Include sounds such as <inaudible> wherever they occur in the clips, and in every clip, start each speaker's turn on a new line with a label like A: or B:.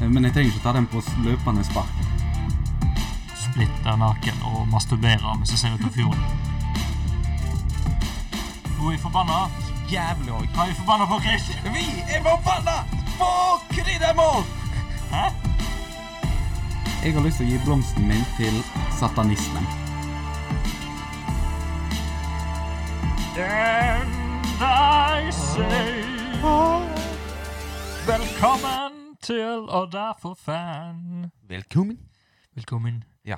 A: Eh, Men jeg trenger ikke ta den på s- løpende spark.
B: splitter naken og masturberer mens jeg ser ut av fjorden. Nå er jeg forbanna.
C: Jævlig òg.
B: Hva er jeg forbanna på, Chris?
C: Vi er forbanna på kryddermål!
B: Hæ?
A: Jeg har lyst til å gi blomsten min til satanismen.
B: And I say Velkommen til Odda for fan.
C: Velkommen.
B: Velkommen.
C: Ja.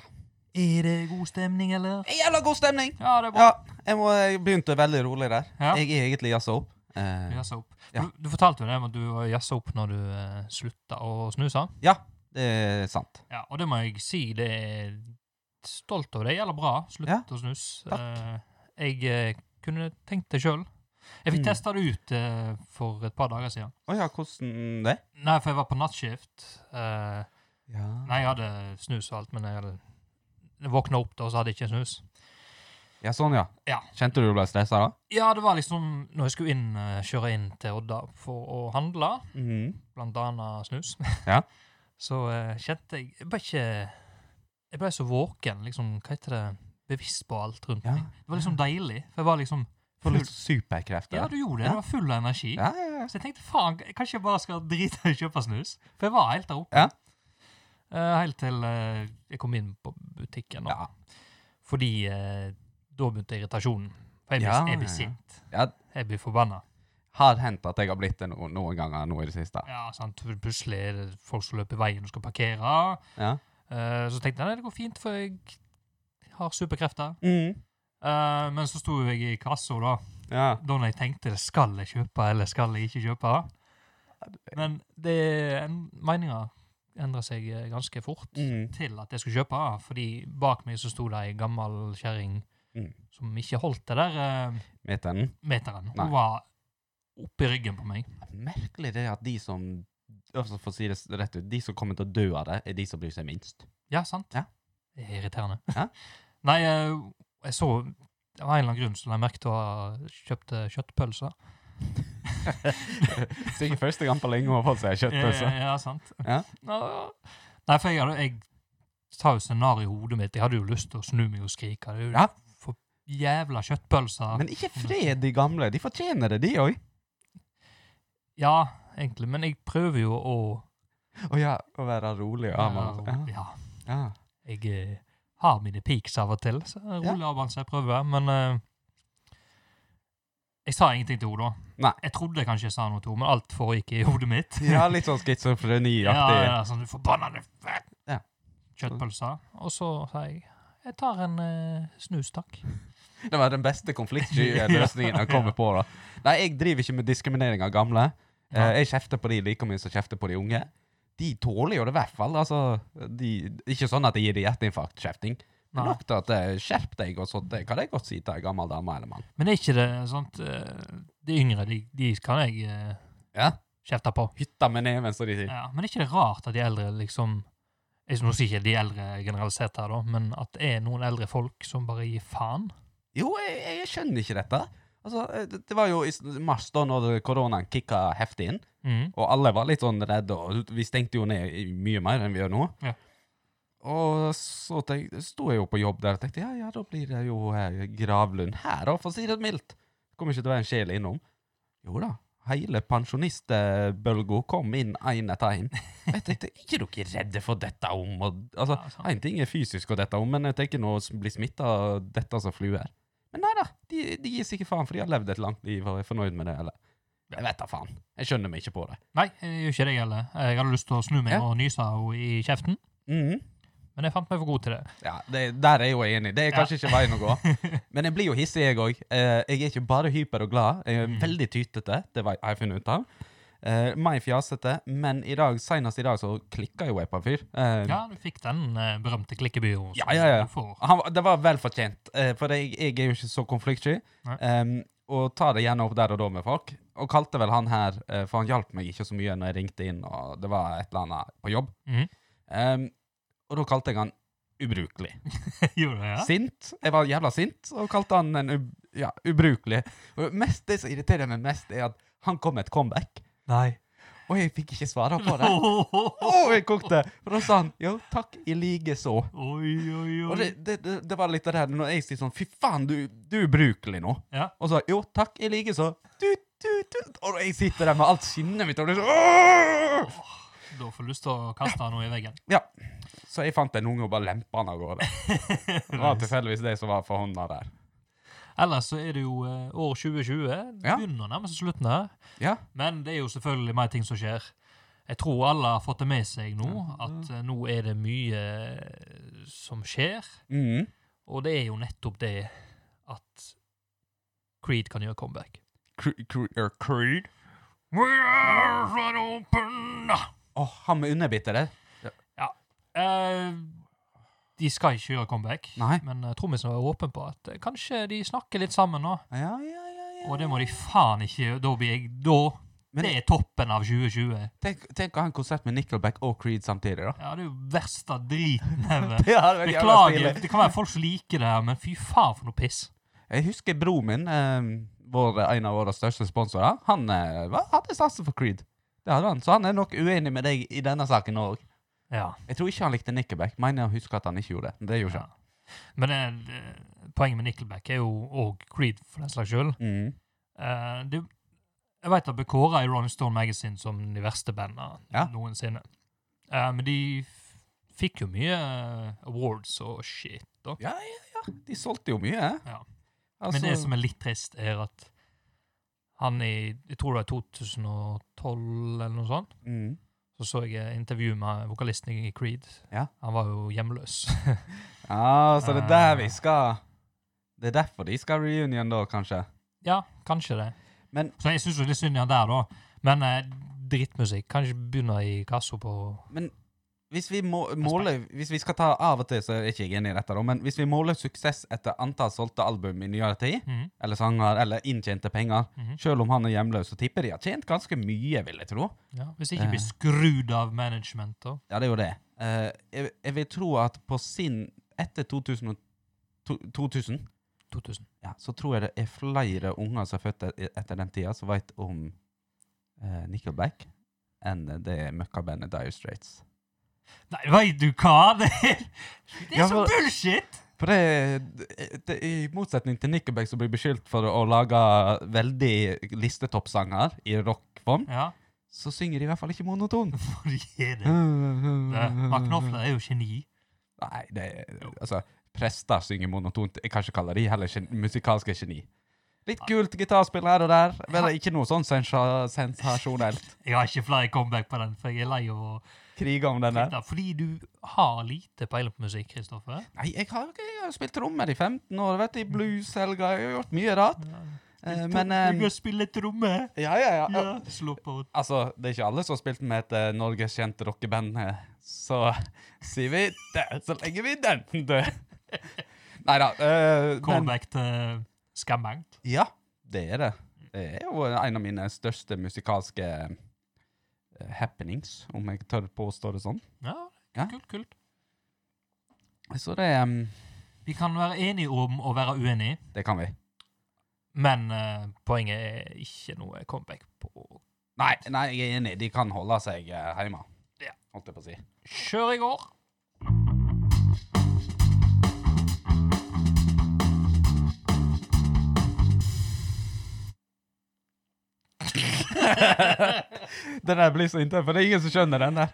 B: Er det god stemning, eller?
C: Jævla god stemning!
B: Ja, det er bra.
C: Ja, jeg, må, jeg begynte veldig rolig der.
B: Ja.
C: Jeg er egentlig jazza opp.
B: Du
C: Eh,
B: jazza opp.
C: Ja.
B: Du, du fortalte jo det om at du var jazza opp når du eh, slutta å snuse.
C: ja, det er sant.
B: Ja, og det må jeg si, det er stolt over deg. Eller bra. Slutt
C: Ja.
B: å snus.
C: Takk.
B: Eh, jeg eh, kunne tenkt det sjøl. Jeg fikk
C: Mm.
B: testa det ut eh, for et par dager siden.
C: Å ja, hvordan det?
B: Nei, for jeg var på nattskift. Eh,
C: Ja.
B: nei, jeg hadde snus og alt, men jeg hadde jeg våkna opp da, og så hadde jeg ikke snus.
C: ja, sånn, ja.
B: Ja.
C: Kjente du du ble stressa da?
B: Ja, det var liksom når jeg skulle inn, eh, kjøre inn til Odda for å handle, blant annet snus, <laughs>
C: Ja.
B: så eh, kjente jeg Jeg ble ikke Jeg ble så våken, liksom, hva heter det, bevisst på alt rundt
C: Ja.
B: meg. Det var liksom deilig, for jeg var liksom
C: Får
B: full.
C: litt superkrefter.
B: Ja, du gjorde det. Du var full av energi.
C: ja, ja, ja.
B: Så jeg tenkte faen, kanskje jeg bare skal drite i å kjøpe snus? For jeg var helt der oppe.
C: Ja.
B: Eh, helt til eh, jeg kom inn på butikken.
C: Ja.
B: da. Fordi eh, da begynte irritasjonen. For jeg blir,
C: Ja,
B: jeg blir
C: ja, ja.
B: sint.
C: Ja.
B: Jeg blir forbanna.
C: Har hendt at jeg har blitt det no noen ganger nå i det siste.
B: Ja, sant? Plutselig er det folk som løper i veien og skal parkere.
C: Ja.
B: Eh, så tenkte jeg nei, det går fint, for jeg har superkrefter. Eh, men så sto jo jeg i kassa da,
C: ja.
B: da når jeg tenkte det skal jeg kjøpe eller skal jeg ikke kjøpe. Men det en- meninger endrer seg eh, ganske fort
C: Mm.
B: til at jeg skulle kjøpe, fordi bak meg så sto det ei gammel kjerring
C: Mm.
B: som ikke holdt det der eh,
C: Vet den.
B: meteren.
C: Nei.
B: Hun var oppi ryggen på meg.
C: Merkelig det at de som altså for å si det s- rett ut, de som kommer til å dø av det, er de som bryr seg
B: <laughs>
C: minst.
B: Ja, sant?
C: Ja.
B: Det er irriterende.
C: Ja.
B: <laughs> Nei, eh, jeg så Av en eller annen grunn så la jeg merke til at hun kjøpte eh, kjøttpølser.
C: Sikkert første gang på lenge hun har fått seg altså.
B: Ja, Eh, ja, sant.
C: Ja.
B: <laughs> Nå- Nei, for jeg, hadde- jeg tar jo scenario i hodet mitt. Jeg hadde jo lyst til å snu meg og skrike. Det er jo
C: Ja.
B: for jævla kjøttpølser.
C: Men ikke fred, de gamle. De fortjener det, de òg.
B: Ja, egentlig. Men jeg prøver jo å
C: Å ja, å være rolig og avmannet.
B: ja.
C: Ja. Ja.
B: Jeg eh, har mine peaks av og til. Så jeg
C: Ja.
B: rolig avbalanse jeg prøver. Men eh, jeg sa ingenting til henne da.
C: Nei.
B: Jeg trodde kanskje jeg sa noe til henne, men alt foregikk i hodet mitt.
C: ja, litt
B: <laughs>
C: sånn
B: ja,
C: schizofreniaktig.
B: ja, sånn forbannede fett.
C: Ja.
B: kjøttpølser. Og så sa jeg jeg tar en eh, snus, takk.
C: Det var den beste konfliktsky løsningen jeg kommer på. da. Nei, jeg driver ikke med diskriminering av gamle. Eh,
B: Nei.
C: Jeg kjefter på de like mye som jeg kjefter på de unge. De tåler jo det i hvert fall. altså. De, ikke sånn at jeg gir dem hjerteinfarkt-kjefting. Men
B: Nei.
C: nok til at eh, skjerp deg og sånt. Det kan jeg godt si til en gammel dame eller mann.
B: Men er ikke det sånt eh, De yngre, de, de kan jeg eh,
C: Ja,
B: kjefte på.
C: Hytta med neven, som de sier.
B: Ja, men er ikke det rart at de eldre liksom jeg, Nå sier ikke de eldre generalisert her, da, men at det er noen eldre folk som bare gir faen?
C: Jo, jeg, jeg skjønner ikke dette. Altså, eh, det, det var jo i s- mars da når koronaen kicka heftig inn.
B: Mhm.
C: Og alle var litt sånn redde, og vi stengte jo ned i- mye mer enn vi gjør nå.
B: Ja.
C: Og så tenk- sto jeg jo på jobb der og tenkte ja, ja, da blir det jo eh, gravlund her, da, for å si det mildt. Kommer ikke til å være en sjel innom. Jo da. Hele pensjonistbølga kom inn én etter
B: <laughs>
C: én. Jeg tenkte, er ikke dere redde for dette om? Og, altså,
B: Ja, sant.
C: Én ting er fysisk og dette om, men jeg tenker nå å bli smitta av dette som fluer. Men nei da, de, de gir sikkert faen, for de har levd et langt liv og er fornøyd med det, eller Jeg vet da faen. Jeg skjønner meg ikke på det.
B: Nei, jeg gjør ikke det heller. Jeg hadde lyst til å snu meg
C: Ja.
B: og nyse henne i kjeften, men jeg fant meg for god til det.
C: Mhm. Ja, det, Der er jeg jo enig. Det er kanskje ikke veien å
B: <laughs>
C: gå. Men jeg blir jo hissig, jeg òg. Eh, jeg er ikke bare hyper og glad. Jeg er
B: Mm.
C: veldig tytete. Det var- har jeg funnet ut av. Eh, meg fjasete, men i dag, senest i dag så klikka jo jeg på en fyr. Eh,
B: Ja, du fikk den eh, berømte klikkebyrået som
C: Ja, ja, ja.
B: du får.
C: han, var- det var vel fortjent, eh, for jeg, jeg er jo ikke så konfliktsky.
B: Nei.
C: Em, og tar det gjerne opp der og da med folk. Og kalte vel han her, eh, for han hjalp meg ikke så mye når jeg ringte inn, og det var et eller annet på jobb.
B: Mhm. <laughs>
C: Em, og da kalte jeg han ubrukelig.
B: Gjorde det, ja?
C: Sint. Jeg var jævla sint, og kalte han en ub ja, ubrukelig. Og det mest, det som irriterer meg mest, er at han kom med et comeback.
B: Nei.
C: Og jeg fikk ikke svare på
B: <laughs>
C: det. Og jeg kokte! For da sa han jo, takk i like så.
B: <laughs> Oi, oi,
C: Og
B: oi.
C: det, det, det, det var litt det der når jeg sier sånn Fy faen, du, du er ubrukelig nå.
B: Ja.
C: Og så jo, takk, jeg liker så. Du, du, du. Og jeg sitter der med alt skinnet mitt og det er sånn «Åh!»
B: Da får du lyst til å kaste noe i veggen.
C: Ja. Så jeg fant en unge og bare lempa han av gårde. Det
B: <laughs>
C: var tilfeldigvis de som var for hånda der.
B: Ellers så er det jo eh, år 2020. Det
C: Ja.
B: begynner å nærme seg slutten her.
C: Ja.
B: Men det er jo selvfølgelig mer ting som skjer. Jeg tror alle har fått det med seg nå, at eh, nå er det mye eh, som skjer.
C: Mm.
B: Og det er jo nettopp det at Creed kan gjøre comeback.
C: Cre- cre- er Creed.
B: We are wide open!
C: Åh, han med underbittere.
B: Eh, de skal ikke gjøre comeback,
C: Nei.
B: men uh, Trommisen var åpen på at eh, kanskje de snakker litt sammen nå.
C: Ja, ja, ja. ja.
B: Og det må de faen ikke gjøre. Da blir jeg Da!
C: Men-
B: det er toppen av 2020.
C: Tenk, tenk å ha en konsert med Nickelback og Creed samtidig, da. <laughs>
B: Ja, det er jo verst av driten ever.
C: Det hadde vært jævla
B: Beklager.
C: stilig.
B: Det kan være folk som liker det her, men fy faen for noe piss.
C: Jeg husker broren min, eh, vår, en av våre største sponsorer, han eh, var- hadde satsen for Creed. Det hadde han, Så han er nok uenig med deg i denne saken òg.
B: Ja.
C: Jeg tror ikke han likte Nickelback. Mener jeg husker at han ikke gjorde det. Men Det gjorde ikke han.
B: Men eh, eh, poenget med Nickelback er jo og Creed, for den slags skyld.
C: Mm.
B: Eh, det, jeg vet at ble kåra i Rolling Stone Magazine som de verste bandene
C: Ja.
B: noensinne. Eh, men de f- fikk jo mye eh, awards og shit. Da.
C: Ja, ja, ja. De solgte jo mye. eh.
B: Ja.
C: Altså,
B: Men det som er litt trist, er at han i jeg tror det var 2012 eller noe sånt,
C: mm.
B: så så jeg intervju med vokalisten i Creed.
C: Ja.
B: Han var jo hjemløs. <laughs>
C: Ja, så det er der
B: Ah.
C: vi skal Det er derfor de skal ha reunion, da, kanskje.
B: ja, kanskje det.
C: Men-
B: så jeg syns jo litt synd i han der, da. Men eh, drittmusikk. Kan ikke begynne i kassa på
C: Hvis vi, må, måler, hvis vi skal ta av og til, så er jeg ikke enig i dette, da, men hvis vi måler suksess etter antall solgte album i nyere tid,
B: Mhm,
C: eller sanger, eller inntjente penger,
B: mhm.
C: Selv om han er hjemløs, så tipper de har tjent ganske mye, vil jeg tro.
B: ja. Hvis ikke
C: Eh.
B: blir skrudd av management, da.
C: Ja, det er jo det. Eh, jeg, jeg vil tro at på sin Etter 2000, og to- 2000
B: 2000.
C: ja, så tror jeg det er flere unger som er født e- etter den tida, som veit om eh, Nickelback, enn det møkkabandet Dire Straits.
B: Nei, veit du hva! <laughs> Det er, det er
C: Ja,
B: så
C: for-
B: bullshit!
C: For det, det, I motsetning til Nickelback, som blir beskyldt for å lage veldig listetoppsanger i rockform,
B: Ja,
C: så synger de i hvert fall ikke monotont. <laughs>
B: for de er det. Det- Mark
C: Mark
B: Knopfler er jo geni.
C: Nei, det Altså, prester synger monotont. Jeg kan ikke kalle de heller gen musikalske geni. Litt kult gitarspill her og der, men ikke noe sånn sensa sensasjonelt.
B: Jeg har ikke flere comeback på den, for jeg er lei av å
C: Krige om denne.
B: Nei, Fordi du har lite peiling på musikk, Kristoffer.
C: Nei, jeg har, jeg har spilt trommer i 15 år, vet du, i blueshelga, jeg har gjort mye rart. Eh, men
B: Du
C: eh,
B: kan spille tromme!
C: ja, ja, ja.
B: Ja, slå på
C: Altså, det er ikke alle som har spilt med et eh, Norges kjente rockeband, eh, så sier vi det, så legger vi den <laughs> død. Nei da. men
B: comeback til Skambank.
C: Ja, det er det. Det er jo en av mine største musikalske eh, happenings, om jeg tør påstå det sånn.
B: Ja,
C: Ja.
B: kult, kult.
C: Så det, em,
B: Vi kan være enige om å være uenige,
C: det kan vi.
B: men eh, poenget er ikke noe comeback på
C: Nei, nei, jeg er enig. De kan holde seg eh, hjemme,
B: Ja.
C: holdt jeg på å si. <laughs>
B: Kjør i går!
C: Den der blir så intern, for det er ingen som skjønner den der.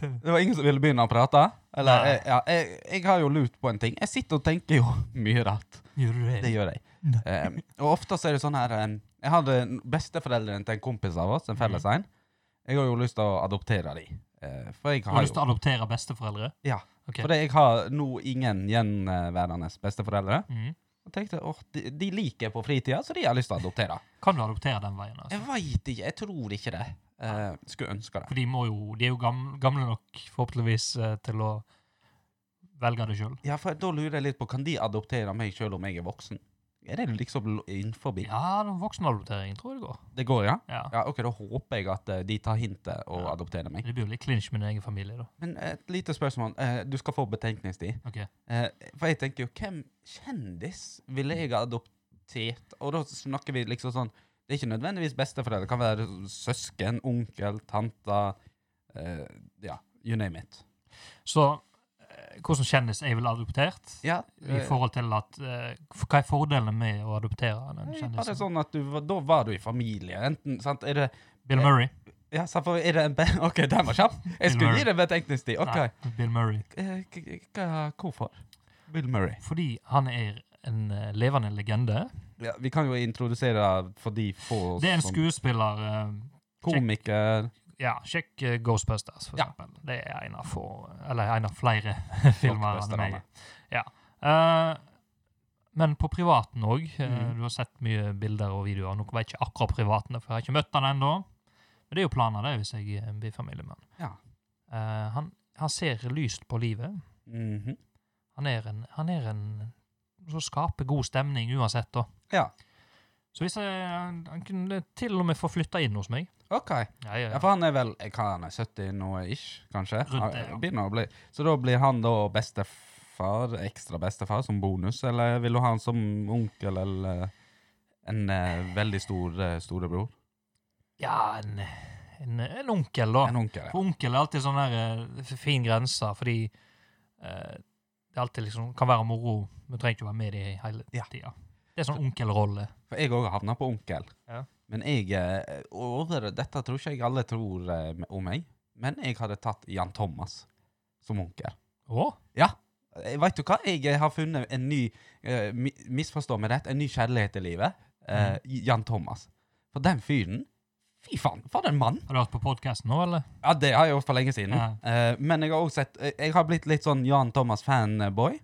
C: Det var ingen som ville begynne å prate. Eller,
B: Nei.
C: jeg, ja, jeg, jeg har jo lurt på en ting. Jeg sitter og tenker jo <laughs> mye rart.
B: Gjør du det?
C: Det gjør jeg.
B: Nei.
C: Um, og ofte så er det sånn her um, Jeg hadde n- besteforeldrene til en kompis av oss, en felles en. Jeg har jo lyst til å adoptere de. Eh, for jeg
B: Du har
C: har
B: lyst til
C: jo
B: å adoptere besteforeldre?
C: ja,
B: Ok.
C: Fordi jeg har nå ingen gjenværende besteforeldre.
B: Mhm.
C: Og tenkte åh, de, de liker jeg på fritida, så de har lyst til å adoptere.
B: Kan du adoptere den veien? altså?
C: Jeg veit ikke. Jeg tror ikke det. Eh, skulle ønske det.
B: For de, må jo, de er jo gamle, gamle nok, forhåpentligvis, eh, til å velge det sjøl.
C: Ja, for Da lurer jeg litt på kan de adoptere meg sjøl om jeg er voksen. Er det liksom lo- innenfor?
B: Ja, det er voksenadoptering tror jeg det går.
C: Det går, ja?
B: Ja.
C: ja? Ok, Da håper jeg at eh, de tar hintet og
B: Ja.
C: adopterer meg.
B: Det blir jo litt clinch med din egen familie, da.
C: Men et lite spørsmål. Eh, du skal få betenkningstid.
B: Ok.
C: Eh, for jeg tenker jo, hvem kjendis ville jeg ha adoptert? Og da snakker vi liksom sånn Det er ikke nødvendigvis besteforeldre. Det kan være søsken, onkel, tante eh, Ja, you name it.
B: Så eh, hvordan kjennes er vel adoptert?
C: Ja,
B: I forhold til at eh, f- Hva er fordelene med å adoptere den
C: Nei, Bare
B: kjendisen?
C: sånn at du, var- da var du i familie. Enten, sant, er det,
B: Bill Murray?
C: ja, sant, for er det en be- <laughs> OK, den var kjapp. Jeg skulle gi deg betenkningstid.
B: Eh,
C: OK.
B: Nei, Bill Murray.
C: Eh, k- k- Hvorfor? Bill Murray.
B: Fordi han er en eh, levende legende.
C: Ja, vi kan jo introdusere for de få
B: Det er en
C: som-
B: skuespiller eh,
C: komiker
B: Ja, sjekk eh, Ghostbusters, for
C: Ja.
B: eksempel. Det er en av få Eller en av flere <laughs> filmer han er med
C: Blockbusterne.
B: i. Ja. Eh, men på privaten òg.
C: Mhm.
B: Du har sett mye bilder og videoer. Nå vet jeg ikke akkurat privaten, for jeg har ikke møtt han ennå. Men det er jo planer, det, hvis jeg eh, blir familiemann.
C: Ja.
B: Eh, han, han ser lyst på livet.
C: Mhm.
B: Han er en, han er en som skaper god stemning uansett, da.
C: Ja.
B: Så hvis jeg, han, han kunne til og med få flytta inn hos meg
C: OK.
B: Ja, ja,
C: Ja, for han er vel jeg kan, han er 70 nå ish, kanskje?
B: Rundt det, ja.
C: Han Begynner å bli. Så da blir han da bestefar, ekstra bestefar, som bonus, eller vil du ha han som onkel eller en eh, veldig stor eh, storebror?
B: Ja, en, en, en onkel, da.
C: En onkel, ja.
B: For onkel er alltid sånn der eh, fin grense, fordi eh, det alltid liksom kan være moro. Du trenger ikke være med i det hele
C: Ja.
B: tida. Det er sånn onkelrolle.
C: For jeg òg havna på onkel.
B: Ja.
C: Men jeg eh, over, Dette tror ikke jeg alle tror eh, om meg, men jeg hadde tatt Jan Thomas som onkel.
B: Å?
C: Eh, Vet du hva? Jeg har funnet en ny eh, mi- Misforstå meg rett, en ny kjærlighet i livet. Eh,
B: Mm.
C: Jan Thomas. For den fyren Fy faen, for en mann!
B: Har du hørt på podkasten nå, eller?
C: Ja, Det har jeg gjort for lenge siden.
B: Ja.
C: Eh, men jeg har også sett eh, Jeg har blitt litt sånn Jan Thomas-fanboy.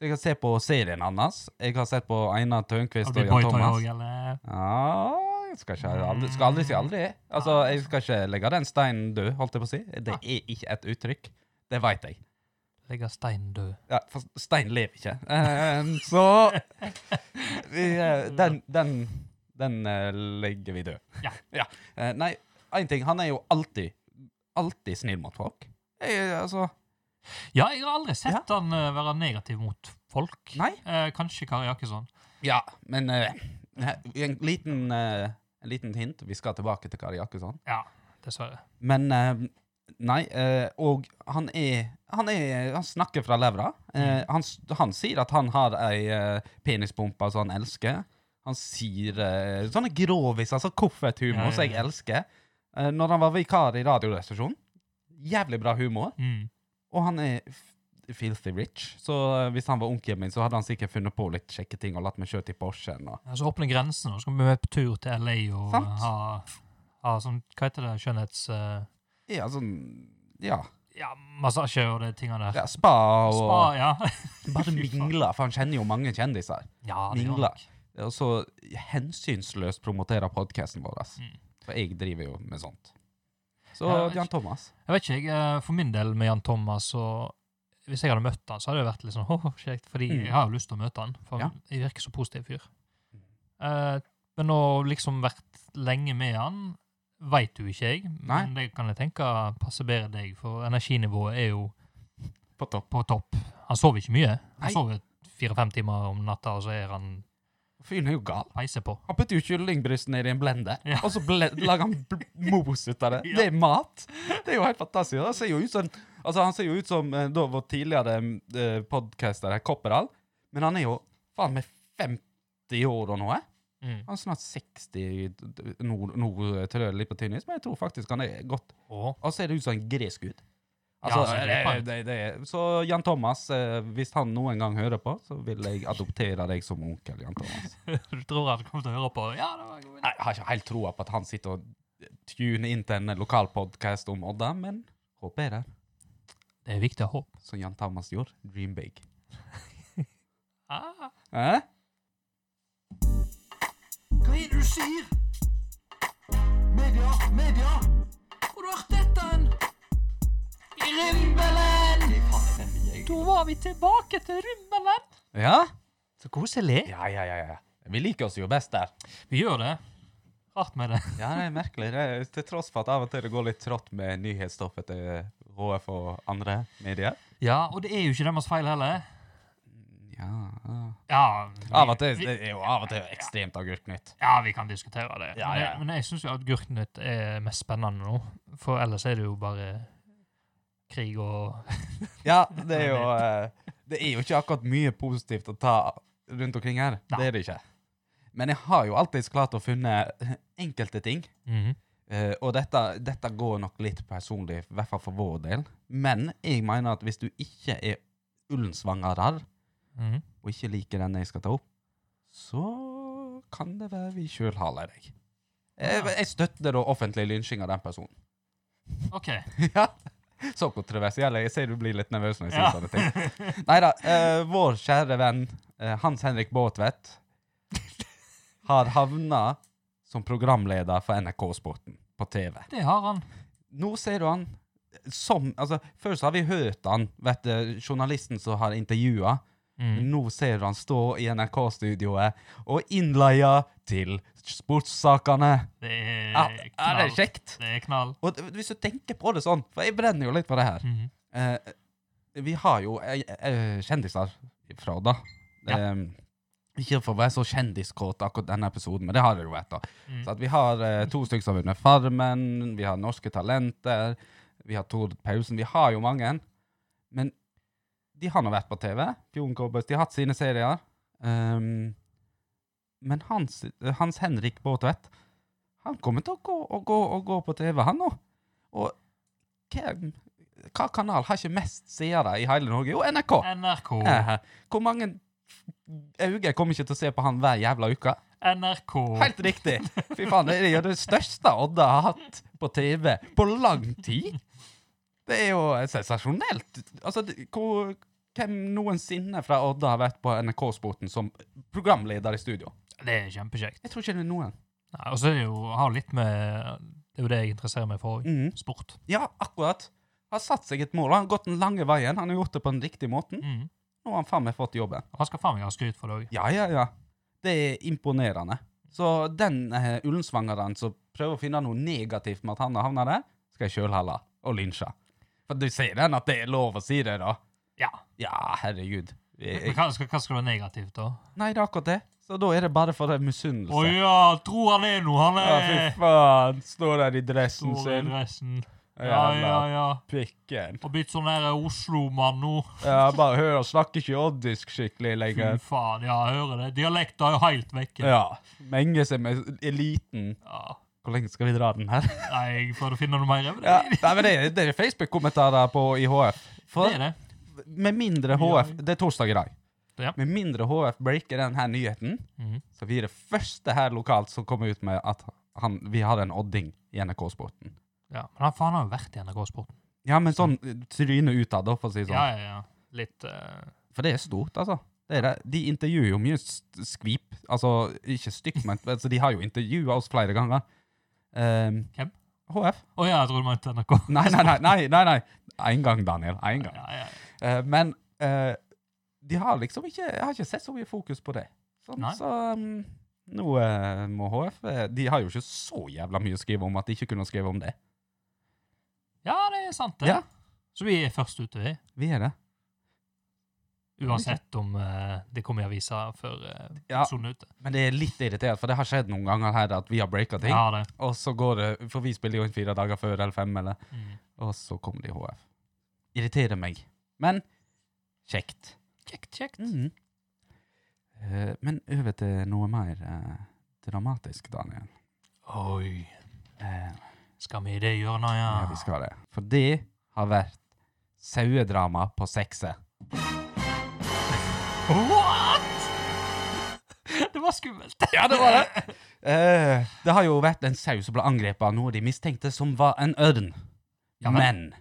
C: Så jeg har sett på serien hans. Jeg har sett på Einar Tørnquist
B: Har
C: og
B: du
C: Jan
B: boytoy òg,
C: Thomas.
B: eller?
C: Ja, jeg skal, ikke, aldri, skal aldri si aldri. Altså, Jeg skal ikke legge den steinen død, holdt jeg på å si. Det er ikke et uttrykk. Det veit jeg.
B: Ligger stein død.
C: Ja, for Stein lever ikke. Eh, så vi, eh, Den, den, den eh, legger vi død.
B: Ja.
C: Eh, nei, én ting. Han er jo alltid, alltid snill mot folk. Jeg, altså,
B: Ja, jeg har aldri sett han eh, være negativ mot folk.
C: Nei.
B: Eh, kanskje Kari Jakkesson.
C: ja, men eh, En liten eh, en liten hint. Vi skal tilbake til Kari Jakkesson.
B: Ja, dessverre.
C: Men eh, Nei, eh, og han er Han, er, han snakker fra levra.
B: Mm.
C: Eh, han, s- han sier at han har ei eh, penispumpe som han elsker. Han sier eh, sånne groviser, altså
B: Ja,
C: kofferthumor
B: ja,
C: som jeg
B: ja.
C: elsker. Eh, når han var vikar i Radioresepsjonen. Jævlig bra humor.
B: Mm.
C: Og han er f- filthy rich, så eh, hvis han var onkelen min, så hadde han sikkert funnet på litt kjekke ting og latt meg kjøre til Porschen. Og.
B: Ja, Så åpner grensene, Altså, og så skal vi med på tur til LA og
C: Sant.
B: ha, ha sånn, hva heter det, skjønnhets... eh,
C: Ja, sånn Ja.
B: ja, massasje og de tingene der.
C: ja spa og
B: Spa, ja.
C: <laughs>
B: <laughs>
C: Bare
B: Fy faen.
C: mingler, for han kjenner jo mange kjendiser.
B: ja det gjør
C: Mingler.
B: nok.
C: Og så hensynsløst promotere podkasten vår. ass.
B: Mm.
C: For jeg driver jo med sånt. Så
B: Ja, jeg-
C: Jan Thomas.
B: Jeg vet ikke, jeg, eh, for min del med Jan Thomas, og hvis jeg hadde møtt han, så hadde det vært litt sånn, åh, kjekt, fordi
C: Mm.
B: jeg har jo lyst til å møte han, for
C: Ja.
B: jeg virker så positiv fyr. Eh, men nå liksom vært lenge med han, vet jo ikke jeg, men det kan jeg tenke passer bedre deg, for energinivået er jo
C: På topp.
B: på topp. Han sover ikke mye.
C: Nei.
B: Han sover fire-fem timer om natta, og så er han
C: Fyren er jo gal.
B: peise på.
C: Han putter jo kyllingbryst ned i en blender,
B: Ja.
C: og så ble lager han bl mos ut av det.
B: Ja.
C: Det er mat! Det er jo helt fantastisk. Han ser jo ut som, altså, han ser jo ut som eh, da vår tidligere eh, podcaster, Kopperall, men han er jo faen meg 50 år og noe.
B: Mm.
C: Han er snart 60 nå, nå tror jeg litt på tynnis, men jeg tror faktisk han er godt
B: Og
C: Og så er det ut som en gresk ut.
B: Ja,
C: Altså,
B: altså,
C: det,
B: grepa.
C: det, det, så Jan Thomas, eh, hvis han noen gang hører på, så vil jeg adoptere deg som onkel. Jan Thomas.
B: <laughs> du tror han kommer til å høre på Ja, det var en god idé.
C: <laughs> Nei, Jeg har ikke helt troa på at han sitter og tuner inn til en lokal podkast om Odda, men håper jeg det.
B: Det er viktig å ha håp.
C: Som Jan Thomas gjorde. Dream big.
B: Ah.
C: Eh?
D: Hva er det du sier? Media, media! Hvor har du hørt dette hen? I Rimbelen!
B: Da var vi tilbake til Rummelen.
C: Ja?
B: Så koselig.
C: Ja, ja, ja, ja. Vi liker oss jo best der.
B: Vi gjør det. Rart med det.
C: Ja, det er merkelig. Det er, til tross for at av og til det går litt trått med nyhetsstoffet til HF og andre medier.
B: Ja, og det er jo ikke deres feil heller.
C: ja, ja.
B: Ja, vi-
C: Av og til det er jo av og til ekstremt agurknytt.
B: Ja, vi kan diskutere det. men
C: Ja, ja,
B: jeg,
C: ja.
B: men jeg syns jo at Gurknytt er mest spennende nå. For ellers er det jo bare krig og
C: Ja, det er jo eh, Det er jo ikke akkurat mye positivt å ta rundt omkring her.
B: Nei.
C: Det er det ikke. Men jeg har jo alltids klart å finne enkelte ting.
B: Mhm.
C: Eh, og dette, dette går nok litt personlig, i hvert fall for vår del. Men jeg mener at hvis du ikke er ullensvangerer,
B: Mhm.
C: og ikke liker den jeg skal ta opp, så kan det være vi sjøl har lei deg. Jeg, jeg støtter da offentlig lynsjing av den personen.
B: OK.
C: <laughs> ja. Så kontroversiell. Jeg ser du blir litt nervøs når jeg sier
B: Ja.
C: sånne ting. Nei da. eh, vår kjære venn eh, Hans Henrik Båtvedt har havna som programleder for NRK Sporten på TV
B: Det har han.
C: nå ser du han som altså, Før så har vi hørt han, vet du, journalisten som har intervjua.
B: Mhm.
C: Nå ser du han stå i NRK-studioet og innleia til sportssakene.
B: Det er
C: Ja,
B: knall.
C: ja, det er kjekt.
B: Det er knall.
C: Og d- hvis du tenker på det sånn, for jeg brenner jo litt på det her
B: Mhm.
C: Eh, Vi har jo eh, eh, kjendiser fra da.
B: Ja.
C: Em, ikke for å være så kjendiskåt akkurat denne episoden, men det har det jo vært. da.
B: Mm.
C: Så at vi har eh, to stykker som har vunnet Farmen, vi har Norske Talenter, vi har Tord Pausen, vi har jo mange. Men de har nå vært på TV, Bjørn Kobbers, de har hatt sine serier. Ehm, men Hans, Hans Henrik Båtvedt, han kommer til å gå og gå og gå på TV, han nå. Og hvem, hva kanal har ikke mest seere i hele Norge? Jo, NRK!
B: NRK.
C: Eh, Hvor mange øyne kommer ikke til å se på han hver jævla uke?
B: NRK.
C: Helt riktig. Fy faen, det er jo det største Odda har hatt på TV på lang tid. Det er jo sensasjonelt. Altså, det- hvor, hvem noensinne fra Odda har vært på NRK-sporten som programleder i studio?
B: Det er kjempekjekt.
C: Jeg tror ikke det er noen.
B: Nei, Og så er det jo har litt med Det er jo det jeg interesserer meg for.
C: Mhm.
B: Sport.
C: Ja, akkurat. Han har satt seg et mål, han har gått den lange veien, han har gjort det på den riktige måten.
B: Mhm.
C: Nå har han faen meg fått jobben.
B: Og Han skal faen meg ha skryt for det òg.
C: Ja, ja, ja. Det er imponerende. Så den eh, ullensvangeren som prøver å finne noe negativt med at han har havna der, skal jeg sjøl helle og lynsje. For du ser den at det er lov å si det, da.
B: Ja.
C: Ja, herregud. Jeg,
B: Men
C: jeg,
B: Hva, skal- hva skal være negativt, da?
C: nei, det er akkurat det. Så da er det bare for en
B: Å
C: misunnelse.
B: ja, tro han er noe! Han
C: Ja, fy
B: er
C: faen. Står der i dressen
B: stor i
C: sin.
B: dressen. Ja,
C: Jævla
B: ja, ja.
C: pikken.
B: Og blitt sånn der Oslo-mann nå.
C: Ja, bare hør, han snakker ikke oddisk skikkelig
B: Fy
C: lenger.
B: faen, ja, jeg hører det. Dialekten er jo helt vekke.
C: Ja. Menger seg med eliten.
B: Ja.
C: Hvor lenge skal vi dra den her?
B: Nei, jeg prøvde å finne noe mer. Men det,
C: Ja, nei, men det, er- det er Facebook-kommentarer på IHF.
B: det
C: For
B: er det.
C: med mindre HF Det er torsdag i dag.
B: Ja.
C: Med mindre HF breaker denne nyheten,
B: Mhm.
C: så blir det første her lokalt som kommer ut med at han, vi har en odding i NRK-sporten.
B: Ja, men han, for han har jo vært i NRK-sporten.
C: Ja, men sånn eh, tryne utad, da, for å si det sånn.
B: Ja, ja, ja. Litt eh,
C: For det er stort, altså. Det er det. De intervjuer jo mye s- skvip. Altså, ikke stygt, men altså, de har jo intervjua oss flere ganger. Ehm,
B: Hvem?
C: HF.
B: Å ja, jeg tror du mente NRK.
C: Nei, nei, nei. nei, nei, nei. Én gang, Daniel. Én gang.
B: Ja, ja.
C: Eh, men eh, de har liksom ikke Jeg har ikke sett så mye fokus på det. Sånn,
B: Nei.
C: så mm, nå eh, må HF eh, De har jo ikke så jævla mye å skrive om at de ikke kunne skrive om det.
B: ja, det er sant, det.
C: Ja.
B: Så vi er først ute, vi.
C: Vi er det.
B: Uansett om eh, det kommer i avisa før eh,
C: Ja.
B: sonen er ute.
C: Men det er litt irritert, for det har skjedd noen ganger her at vi har breaka ting,
B: Ja, det.
C: og så går det For vi spiller jo inn fire dager før eller fem, eller
B: Mm.
C: Og så kommer de i HF. Irriterer meg. Men kjekt.
B: Kjekt, kjekt.
C: Mhm. Eh, men over til noe mer eh, dramatisk, Daniel.
B: Oi.
C: Eh,
B: Skal vi i det hjørnet, ja?
C: Ja, vi skal det. For det har vært sauedrama på sekset.
B: What?! <laughs> Det var skummelt.
C: Ja, det var det! <laughs> Eh, det har jo vært en sau som ble angrepet av noe de mistenkte som var en ørn.
B: Ja, men-
C: men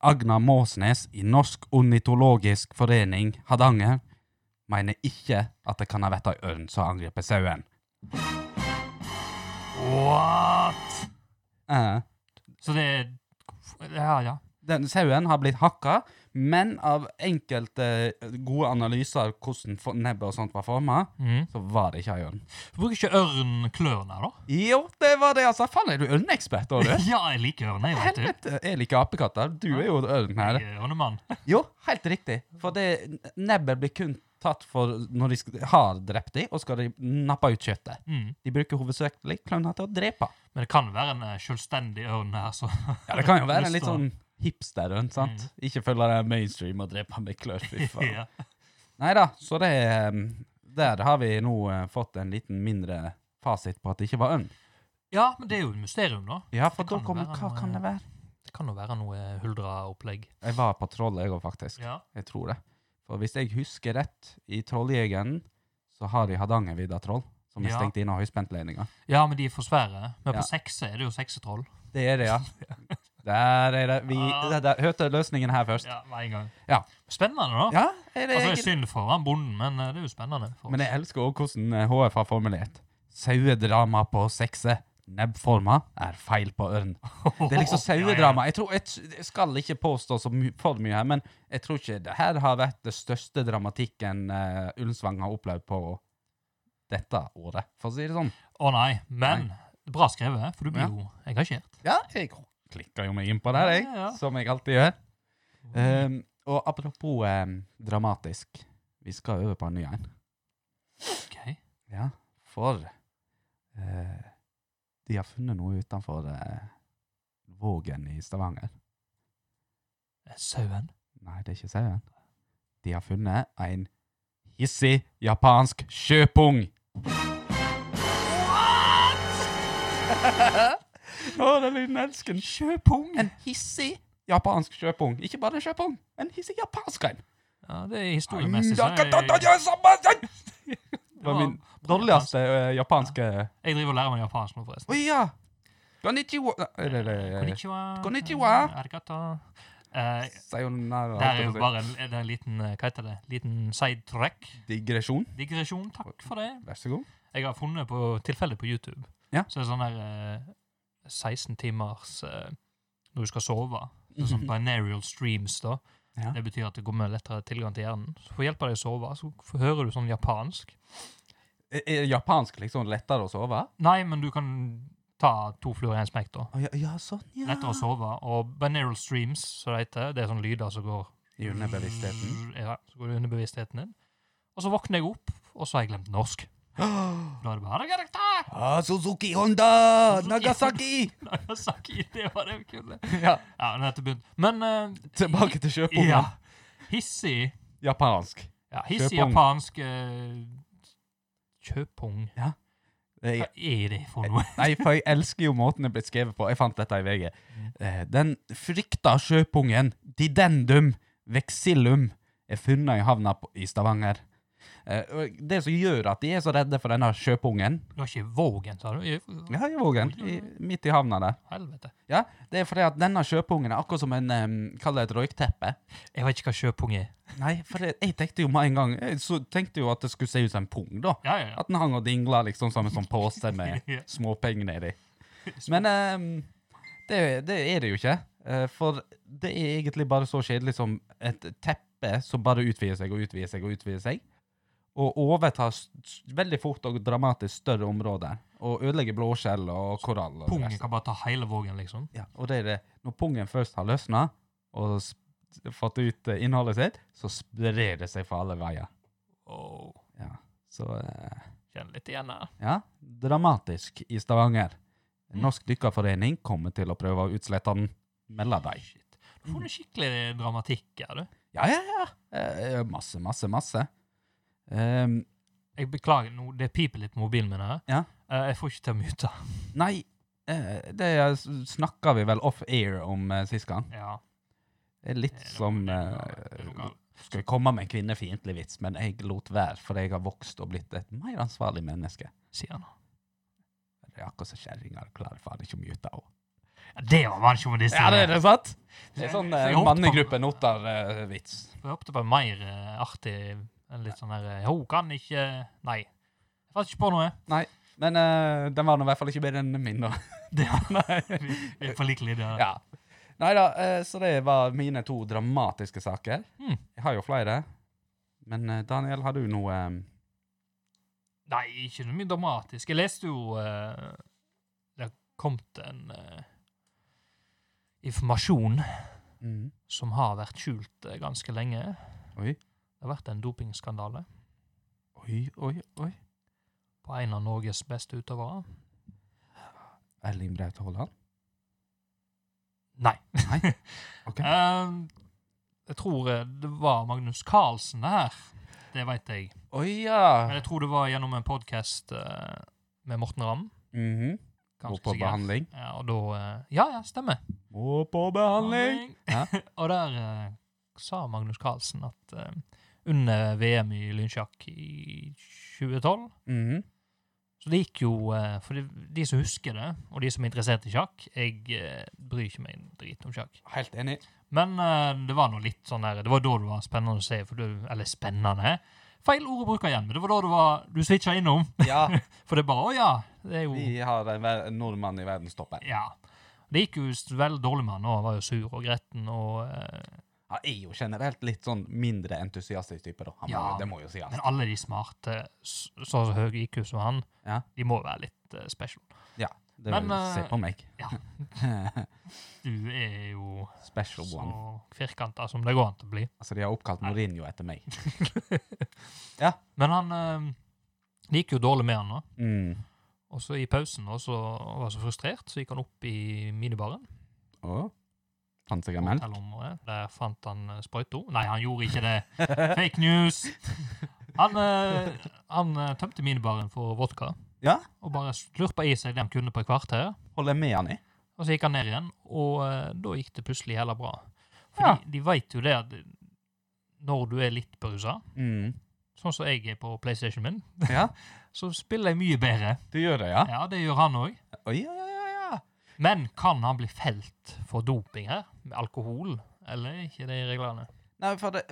C: Agnar Måsnes i Norsk ornitologisk forening Hardanger mener ikke at det kan ha vært ei ørn som har angrepet sauen.
B: What?!
C: Eh,
B: Så det er Ja, ja.
C: den sauen har blitt hakka, men av enkelte gode analyser av hvordan for- nebbet og sånt var forma,
B: Mm.
C: så var det ikke ei ørn.
B: Bruker ikke ørn klørne, da?
C: Jo, det var det, altså. Faen, er du ørneekspert, da, du?
B: <laughs> Ja, jeg liker ørn, jeg, vet du.
C: Helvete, jeg liker apekatter. Du er jo ørn her.
B: Jeg er ørnemann.
C: Jo, helt riktig. For det nebbet blir kun tatt for når de sk- har drept dem, og skal de nappe ut kjøttet.
B: Mm.
C: De bruker hovedsakelig klovner til å drepe.
B: Men det kan være en eh, selvstendig ørn her, så
C: Ja, det kan jo være
B: Lyst
C: en litt
B: til å-
C: sånn hipsterønn, sant? Ikke følge den mainstream og drepe med klør,
B: <laughs>
C: fy faen.
B: Mm. ja.
C: Nei da, så det um, Der har vi nå eh, fått en liten mindre fasit på at det ikke var ørn.
B: ja, men det er jo et mysterium, da.
C: Ja, for
B: Det
C: da
B: kan
C: kommer
B: være
C: Hva
B: noe-
C: kan det være?
B: Det kan jo være noe huldra-opplegg.
C: Jeg var på Troll, jeg òg, faktisk.
B: Ja.
C: Jeg tror det. For hvis jeg husker rett, i Trolljegeren så har de Hardangervidda troll, som er
B: Ja.
C: stengt inne av høyspentledninger.
B: ja, men de er for svære. Men
C: Ja.
B: på sekse er det jo seksetroll.
C: Det er
B: <laughs>
C: det, ja. Der er det. Vi
B: Ah.
C: der, der, hørte løsningen her først.
B: Ja, med en gang.
C: Ja.
B: Spennende, da.
C: Ja, er det
B: Altså, det er
C: egentlig-
B: synd for han bonden, men eh, det er jo spennende. For
C: Men
B: oss.
C: jeg elsker òg hvordan eh, HF har formulert. Sauedrama på sekse. Nebbforma er feil på ørn. Det er
B: <laughs>
C: liksom sauedrama. Jeg, tror, jeg, t- jeg skal ikke påstå så my for mye her, men jeg tror ikke det her har vært det største dramatikken uh, Ullensvang har opplevd på dette året, for å si det sånn.
B: Å nei, men bra skrevet, for du blir jo engasjert.
C: Ja, jeg klikker jo meg inn på det, her, jeg,
B: Ja, ja, ja.
C: som jeg alltid gjør. Um, og apropos um, dramatisk, vi skal over på en ny en.
B: Ok. Eh,
C: Ja, for eh, de har funnet noe utenfor eh, Vågen i Stavanger.
B: Sauen.
C: Nei, det er ikke sauen. De har funnet en hissig japansk sjøpung. What?! <laughs> Å, den lyden elsker den.
B: Sjøpung.
C: En hissig japansk sjøpung. Ikke bare en sjøpung, en hissig japansk en.
B: Ja, det er historiemessig. Så jeg, jeg,
C: Det
B: var
C: var min
B: bra
C: dårligste eh, japanske Å
B: jeg driver og lærer meg japansk nå, forresten.
C: ja! Konnichiwa Eller eh, det
B: Konnichiwa.
C: Konnichiwa.
B: Eh, Arigato. Eh,
C: Sayonara. altså,
B: det her er jo bare en, er det en liten, eh, hva heter det, liten sidetrack.
C: Digresjon.
B: Digresjon, takk for det.
C: Vær så god.
B: Jeg har funnet på tilfellet på YouTube.
C: Ja.
B: Så det er sånn der eh, 16 timers eh, når du skal sove. Så det er sånn binarial streams, da.
C: Mhm. Ja.
B: Det betyr at det kommer lettere tilgang til hjernen. Så for å hjelpe deg å sove, så f- hører du sånn japansk.
C: Er- Er Eh, japansk liksom lettere å sove?
B: Nei, men du kan ta to fluer i en smekk, da.
C: Å, ja, ja, sånn, ja.
B: Lettere å sove. Og binarial streams, som det heter, det er sånne lyder som går
C: I underbevisstheten.
B: Ja, så går det under bevisstheten din. Og så våkner jeg opp, og så har jeg glemt norsk.
C: <gasps>
B: Da er det bare <laughs>
C: Ah, Suzuki Honda!
B: Suzuki
C: Nagasaki!
B: Nagasaki, det var det kule.
C: <laughs> ja,
B: Ja, men dette begynt. Men eh,
C: tilbake til sjøpungen.
B: ja. hissig
C: Japansk.
B: ja, Hissig
C: Kjøpung.
B: japansk uh, Kjøpung.
C: Eh,
B: Hva er det for noe?
C: Nei, for jeg elsker jo måten det er blitt skrevet på. Jeg fant dette i VG. Eh, Den frykta sjøpungen, didendum vexillum, er funnet i havna på- i Stavanger. Eh, og Det som gjør at de er så redde for denne sjøpungen
B: Det var ikke Vågen, sa du? I-
C: Ja, i Vågen, i, midt i havna der.
B: Helvete.
C: Ja, Det er fordi at denne sjøpungen er akkurat som en um, Kall det et røykteppe.
B: Jeg vet ikke hva kjøpung er.
C: Nei, for det, jeg tenkte jo med en gang Jeg så tenkte jo at det skulle se ut som en pung, da.
B: Ja, ja,
C: At den hang og dingla liksom som en sånn pose med
B: Ja.
C: småpenger nedi. Men ehm, det, det er det jo ikke. eh, For det er egentlig bare så kjedelig som et teppe som bare utvider seg og utvider seg og utvider seg. Og overtar s- s- veldig fort og dramatisk større områder. Og ødelegger blåskjell og korall. Og, det
B: Pungen
C: resten.
B: kan bare ta hele Vågen, liksom.
C: ja, og det er det. Når pungen først har løsna og s- fått ut eh, innholdet sitt, så sprer det seg for alle veier.
B: Åh,
C: Ja, så... eh,
B: kjenn litt igjen her.
C: Ja, dramatisk i Stavanger. Norsk dykkerforening kommer til å prøve å utslette den. Melder deg.
B: Shit. Du får det skikkelig dramatikk her, du.
C: Ja, ja, ja. Eh, masse, masse, masse. Ehm,
B: Jeg beklager nå, det piper litt på mobilen min her.
C: Ja.
B: Eh, jeg får ikke til å mute.
C: nei, eh, det snakka vi vel off-air om eh, sist gang.
B: Ja.
C: Det er litt som
B: Det er noe
C: eh,
B: galt.
C: Skal jeg komme med en kvinnefiendtlig vits, men jeg lot være, for jeg har vokst og blitt et mer ansvarlig menneske.
B: Sier han.
C: Det er akkurat som kjerringer klarer faen ikke å mute henne.
B: Ja, det var mannsjovinist.
C: Ja, det er det sant? Det er sånn
B: Jeg
C: eh,
B: håpet på-
C: mannegruppen Ottar-vits.
B: Jeg håpte på en mer eh, artig en litt sånn her eh, Hun kan ikke Nei. Jeg fant ikke på
C: <laughs>
B: noe.
C: Men eh, den var nå i hvert fall ikke bedre enn min, da. <laughs>
B: Det var
C: Nei.
B: vi vi er på lik linje. her.
C: ja. Nei da, eh, så det var mine to dramatiske saker.
B: Mm.
C: Jeg har jo flere. Men eh, Daniel, har du noe eh,
B: Nei, ikke noe mye dramatisk. Jeg leste jo eh, Det har kommet en eh, informasjon
C: mm.
B: som har vært skjult eh, ganske lenge.
C: Oi.
B: Det har vært en dopingskandale
C: Oi, oi, oi.
B: på en av Norges beste utøvere.
C: Erling Braut Haaland?
B: Nei. <laughs>
C: Nei? Ok.
B: Ehm, jeg tror eh, det var Magnus Carlsen det her. Det veit jeg.
C: Oi, ja.
B: Men jeg tror det var gjennom en podkast med Morten Ramm.
C: Mhm. Må
B: ganske
C: på
B: sikkert.
C: behandling.
B: Ja, og da eh, Ja, ja, stemmer.
C: Må på behandling! Ja.
B: <laughs> og der eh, sa Magnus Carlsen at eh, under VM i lynsjakk i 2012
C: Mhm.
B: Så det gikk jo eh, For de, de som husker det, og de som er interessert i sjakk Jeg eh, bryr ikke meg en drit om sjakk.
C: Helt enig.
B: Men eh, det var nå litt sånn der, det var da det var spennende å se, for du, eller spennende Feil ord å bruke igjen, men det var da det var, du switcha innom.
C: <laughs> Ja, <laughs>
B: For det er bare å ja. Det er jo
C: vi har en, ver en nordmann i verdenstoppen.
B: Ja. Det gikk jo s- veldig dårlig med han, og han var jo sur og gretten og eh,
C: Han er jo generelt litt sånn mindre entusiastisk type, da. Han
B: Ja.
C: må, det må jo sies.
B: Men alle de smarte, s- så, så høy IQ som han,
C: Ja.
B: de må være litt eh, special.
C: Det
B: Men,
C: vil se
B: eh,
C: på meg.
B: ja. Du er jo
C: Special
B: så
C: one.
B: firkanta som det går an til å bli.
C: Altså, de har oppkalt Mourinho etter meg.
B: Men han eh, Det gikk jo dårlig med han nå.
C: Mm.
B: Og så i pausen, og så var han så frustrert, så gikk han opp i minibaren.
C: Og fant seg en melk.
B: hotellområdet. Der fant han eh, sprøyta. Nei, han gjorde ikke det. <laughs> Fake news! Han, eh, han eh, tømte minibaren for vodka
C: Ja.
B: og bare slurpa i seg det han kunne på et kvarter.
C: Holder jeg med han i?
B: Og så gikk han ned igjen, og eh, da gikk det plutselig heller bra. For
C: Ja.
B: de, de veit jo det at når du er litt berusa,
C: Mm.
B: sånn som jeg er på PlayStation min,
C: <laughs> Ja.
B: <laughs> så spiller jeg mye bedre.
C: Du gjør det, ja?
B: Ja, det gjør han òg.
C: Oi, ja, ja, ja, ja.
B: Men kan han bli felt for doping her? Med alkohol? Eller er ikke det i reglene?
C: Nei, for det,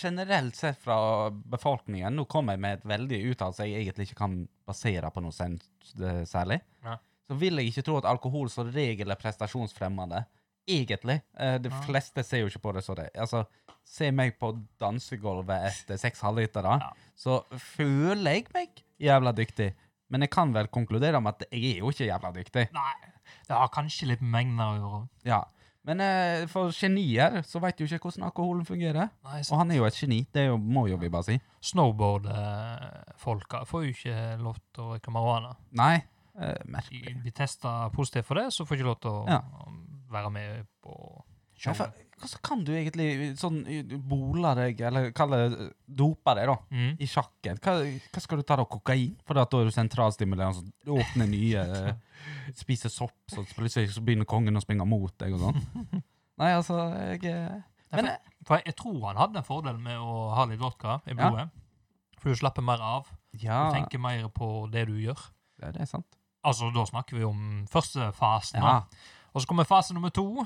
C: generelt sett fra befolkningen Nå kom jeg med et veldig uttalelse jeg egentlig ikke kan basere på noe sen, det, særlig.
B: Nei.
C: Så vil jeg ikke tro at alkohol som regel er prestasjonsfremmende. Egentlig. Eh, de
B: Ja.
C: fleste ser jo ikke på det som det. Altså, se meg på dansegulvet etter seks halvlitere,
B: Ja.
C: så føler jeg meg jævla dyktig. Men jeg kan vel konkludere med at jeg er jo ikke jævla dyktig.
B: Nei, det har kanskje litt med mengder å gjøre.
C: Ja. Men eh, for genier så veit jo ikke hvordan alkoholen fungerer.
B: Nei,
C: Og han er jo et geni, det er jo, må jo vi bare si.
B: Snowboard-folka eh, får jo ikke lov til å røyke marihuana.
C: Nei, eh,
B: De
C: merkelig.
B: blir testa positivt for det, så får ikke lov til å
C: Ja.
B: å være med på
C: Ja,
B: showet.
C: for, hvordan kan du egentlig sånn eh, bole deg, eller kalle det eh, dope deg, da,
B: Mm.
C: i sjakken? Hva, hva skal du ta da, kokain? For da er du sentralstimulerende, så du åpner nye, eh, spiser sopp, så plutselig så begynner kongen å springe mot deg og sånn.
B: <laughs>
C: Nei, altså, jeg eh, Men eh,
B: For jeg, jeg tror han hadde en fordel med å ha litt vodka i
C: Ja. Ah.
B: blodet. For du slapper mer av. Du
C: Ja,
B: tenker mer på det du gjør.
C: ja, det er sant.
B: Altså, da snakker vi om første fasen. da.
C: Ja.
B: Og så kommer fase nummer to.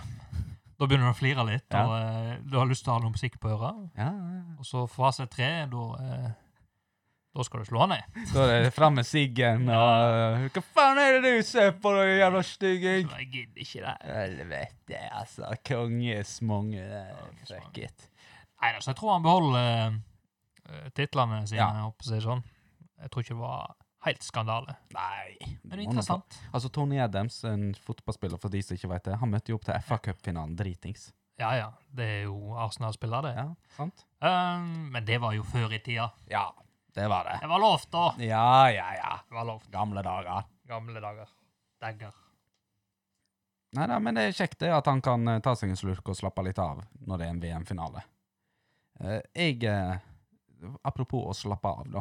B: Da begynner du å flire litt,
C: Ja.
B: og eh, du har lyst til å ha noe musikk på øret.
C: ja.
B: Og så fase tre, da eh, Da skal du slå han ned.
C: Så er det fram med siggen og eh, Hva faen er det du ser på, du jævla stygging?
B: Jeg gidder ikke det.
C: Helvete, altså. Kongesmonge.
B: Kongesmonge.
C: Fuck it.
B: Nei, altså, jeg tror han beholder eh, titlene sine,
C: Ja.
B: jeg håper å si det sånn. Jeg tror ikke det var helt skandale.
C: Nei.
B: Men interessant.
C: Altså, Tony Adams, en fotballspiller for de som ikke vet det, han møtte jo opp til FA-cupfinalen dritings.
B: Ja, ja. Det er jo Arsenal-spiller, det.
C: Ja, sant?
B: Eh, men det var jo før i tida.
C: Ja, det var det.
B: Det var lov, da!
C: Ja, ja, ja.
B: Det var lov.
C: Gamle dager.
B: Gamle dager. Dagger.
C: Nei da, men det er kjekt det at han kan eh, ta seg en slurk og slappe litt av når det er en VM-finale. Eh, jeg eh, Apropos å slappe av, da.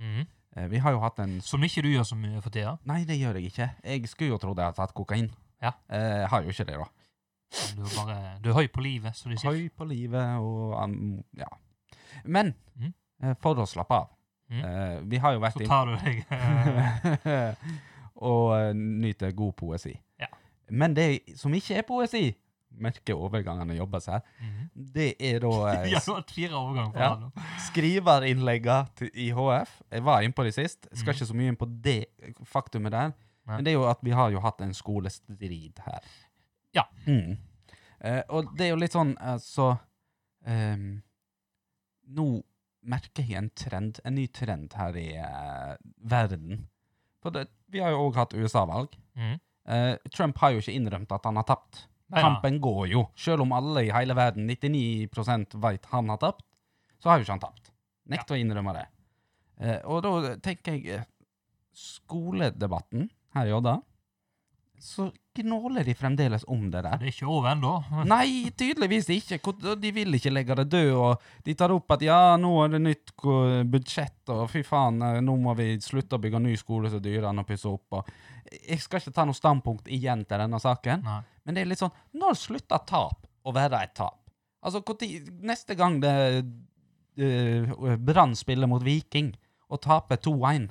B: Mhm.
C: Eh, vi har jo hatt en
B: Som ikke du gjør så mye for tida.
C: Nei, det gjør jeg ikke. Jeg skulle jo trodd jeg hadde tatt kokain.
B: Ja.
C: Eh, har jo ikke det, da.
B: men Du er, bare, du er høy på livet, som de sier.
C: Høy på livet og um, Ja. Men
B: Mhm.
C: eh, for å slappe av
B: Mhm.
C: eh, Vi har jo vært
B: Så
C: inn-
B: tar du deg <laughs> eh,
C: <laughs> Og eh, nyter god poesi.
B: Ja.
C: Men det som ikke er poesi, merker overgangene jobbes her,
B: mhm.
C: det er da eh,
B: <laughs> Ja, du har hatt fire overganger på
C: Ja.
B: ja. nå.
C: Skriverinnlegga til IHF. Jeg var inne på det sist. Jeg skal
B: Mhm.
C: ikke så mye inn på det faktumet der.
B: Nei.
C: Men det er jo at vi har jo hatt en skolestrid her.
B: Ja.
C: Mm. Eh, og det er jo litt sånn, altså ehm, Nå merker jeg en trend, en ny trend her i eh, verden. For det, vi har jo òg hatt USA-valg.
B: Mhm.
C: Eh, Trump har jo ikke innrømt at han har tapt.
B: Nei, ja.
C: Kampen går jo. Selv om alle i hele verden, 99 veit han har tapt, så har jo ikke han tapt. Nekt å innrømme det. Eh, og da tenker jeg eh, Skoledebatten her i Odda, så gnåler de fremdeles om det der.
B: Det er ikke over ennå.
C: Nei, tydeligvis ikke. Hvor- De vil ikke legge det død, og de tar opp at ja, nå er det nytt ko- budsjett, og fy faen, eh, nå må vi slutte å bygge ny skole så dyrer enn å pusse opp. Og jeg skal ikke ta noe standpunkt igjen til denne saken,
B: Nei.
C: men det er litt sånn, når slutter tap å være et tap? Altså, hvor tid- neste gang det eh, Brann spiller mot Viking og taper 2-1,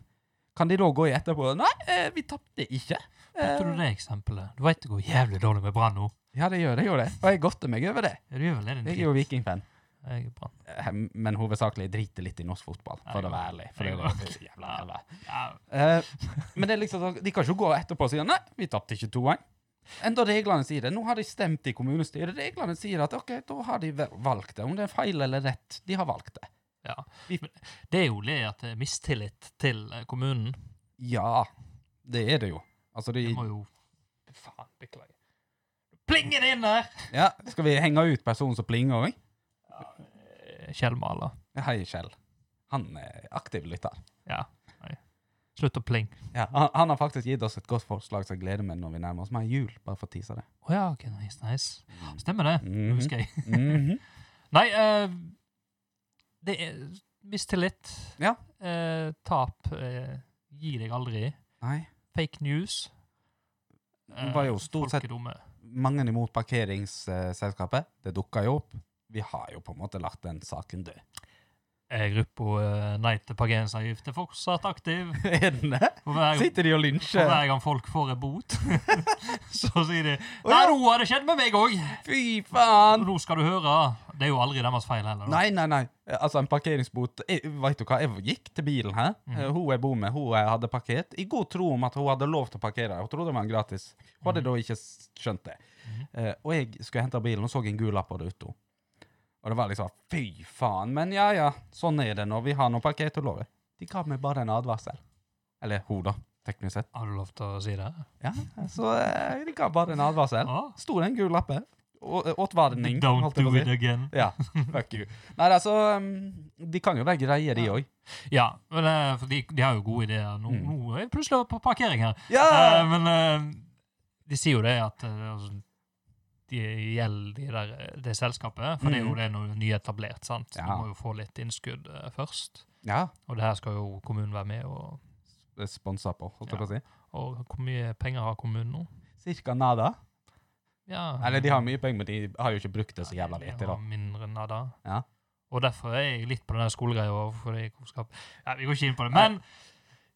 C: kan de da gå i etterpå? Nei, eh, vi tapte ikke.
B: Hørte
C: Eh.
B: du det eksempelet? Du veit det går jævlig dårlig med Brann nå.
C: Ja, det gjør det, gjør det. Og jeg godter meg over det.
B: Ja, Du gjør vel det,
C: Jeg
B: din
C: er jo Viking-fan.
B: Jeg er Brann.
C: Eh, men hovedsakelig driter litt i norsk fotball, for
B: Nei,
C: å være ærlig. For
B: nei,
C: det
B: nei.
C: var så jævla jævla.
B: Ja,
C: Eh, men det er liksom, sånn, de kan ikke gå etterpå og si nei, vi tapte ikke 2-1. Enda reglene sier det. Nå har de stemt i kommunestyret. Reglene sier at ok, da har de vel- valgt det. Om det er feil eller rett, de har valgt det.
B: ja. Men det er jo det at det er mistillit til eh, kommunen.
C: Ja, det er det jo. Altså, de,
B: Jeg må jo Faen, beklager. Plinger det inn der!
C: ja, skal vi henge ut personen som plinger òg?
B: Eh, Kjellmaler.
C: Hei, Kjell. Han er aktiv lytter.
B: Ja. Nei. Slutt å pling.
C: Ja, han, han har faktisk gitt oss et godt forslag som jeg gleder meg når vi nærmer oss mer jul. bare for å tease det.
B: Å ja, ok, nice, nice. Stemmer det. Nå
C: Mhm.
B: husker jeg.
C: Mhm.
B: Nei, eh, det er mistillit.
C: Ja.
B: Eh, tap. Eh, gi deg aldri.
C: Nei.
B: Fake news. Eh,
C: Det var jo stort sett-
B: folkedomme.
C: mange imot parkeringsselskapet. Det dukka jo opp. Vi har jo på en måte lagt den saken død.
B: Er gruppa eh, Nei til parkeringsavgift er fortsatt aktiv.
C: <laughs> Er den det?
B: For hver,
C: Sitter de og
B: for
C: lynsjer?
B: hver gang folk får en bot, <laughs> så sier de
C: Å
B: Nei,
C: ja.
B: nå har det skjedd med meg òg!
C: Fy faen!
B: Nå skal du høre. Det er jo aldri deres feil heller. da.
C: Nei, nei, nei. Altså, en parkeringsbot jeg, Vet du hva, jeg gikk til bilen her. Eh, Hun jeg bor med, hun jeg hadde parkert. I god tro om at hun hadde lov til å parkere. Hun trodde det var en gratis. Hun hadde da ikke s- skjønt det. Eh, og jeg skulle hente bilen, og så en gul lapp på ruta. Og det var liksom Fy faen. Men ja, ja. Sånn er det når vi har noe parkert å love. De ga meg bare en advarsel. Eller hun, da. Teknisk sett.
B: Har du lov til å si det?
C: Ja, så eh, de ga bare en advarsel.
B: Ja.
C: Sto det en gul lappe? Å- Åtvarning.
B: Don't
C: holdt jeg på
B: do
C: å si.
B: it again.
C: Ja, fuck you. Nei, altså, de kan jo være greie, de
B: Ja.
C: òg.
B: Ja, men, eh, for de, de har jo gode ideer. Nå,
C: Mm.
B: nå er jeg plutselig på parkering her.
C: Ja!
B: Eh, men eh, de sier jo det at eh, altså, de gjelder de der, eh, det selskapet, for det er jo
C: Mm.
B: det noe nyetablert, sant?
C: Ja.
B: Du må jo få litt innskudd eh, først,
C: ja.
B: og det her skal jo kommunen være med, og,
C: Sponsa på, holdt jeg på å si.
B: og hvor mye penger har kommunen nå?
C: Cirka nada.
B: Ja,
C: Eller de har mye penger, men de har jo ikke brukt det så jævla
B: de
C: lite,
B: har
C: da.
B: Mindre enn det.
C: Ja.
B: Og derfor er jeg litt på den der skolegreia, fordi jeg skal... Ja, vi går ikke inn på det, men...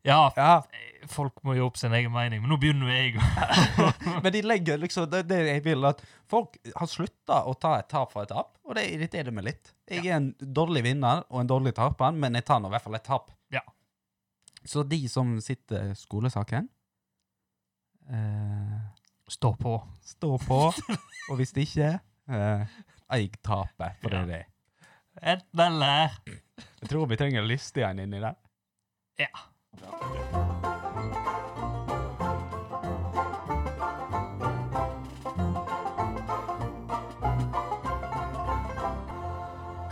B: Ja,
C: Ja,
B: folk må jo opp sin egen mening, men nå begynner jo jeg å
C: Men de legger liksom Det, det jeg vil, at folk har slutta å ta et tap for et tap, og det irriterer meg litt. Jeg er en dårlig vinner og en dårlig taper, men jeg tar nå i hvert fall et tap.
B: Ja.
C: Så de som sitter skolesaken eh,
B: stå på.
C: Stå på, og hvis det ikke eh, Jeg taper, for det er det.
B: Enten eller.
C: Jeg tror vi trenger en liste igjen inni der.
B: Ja.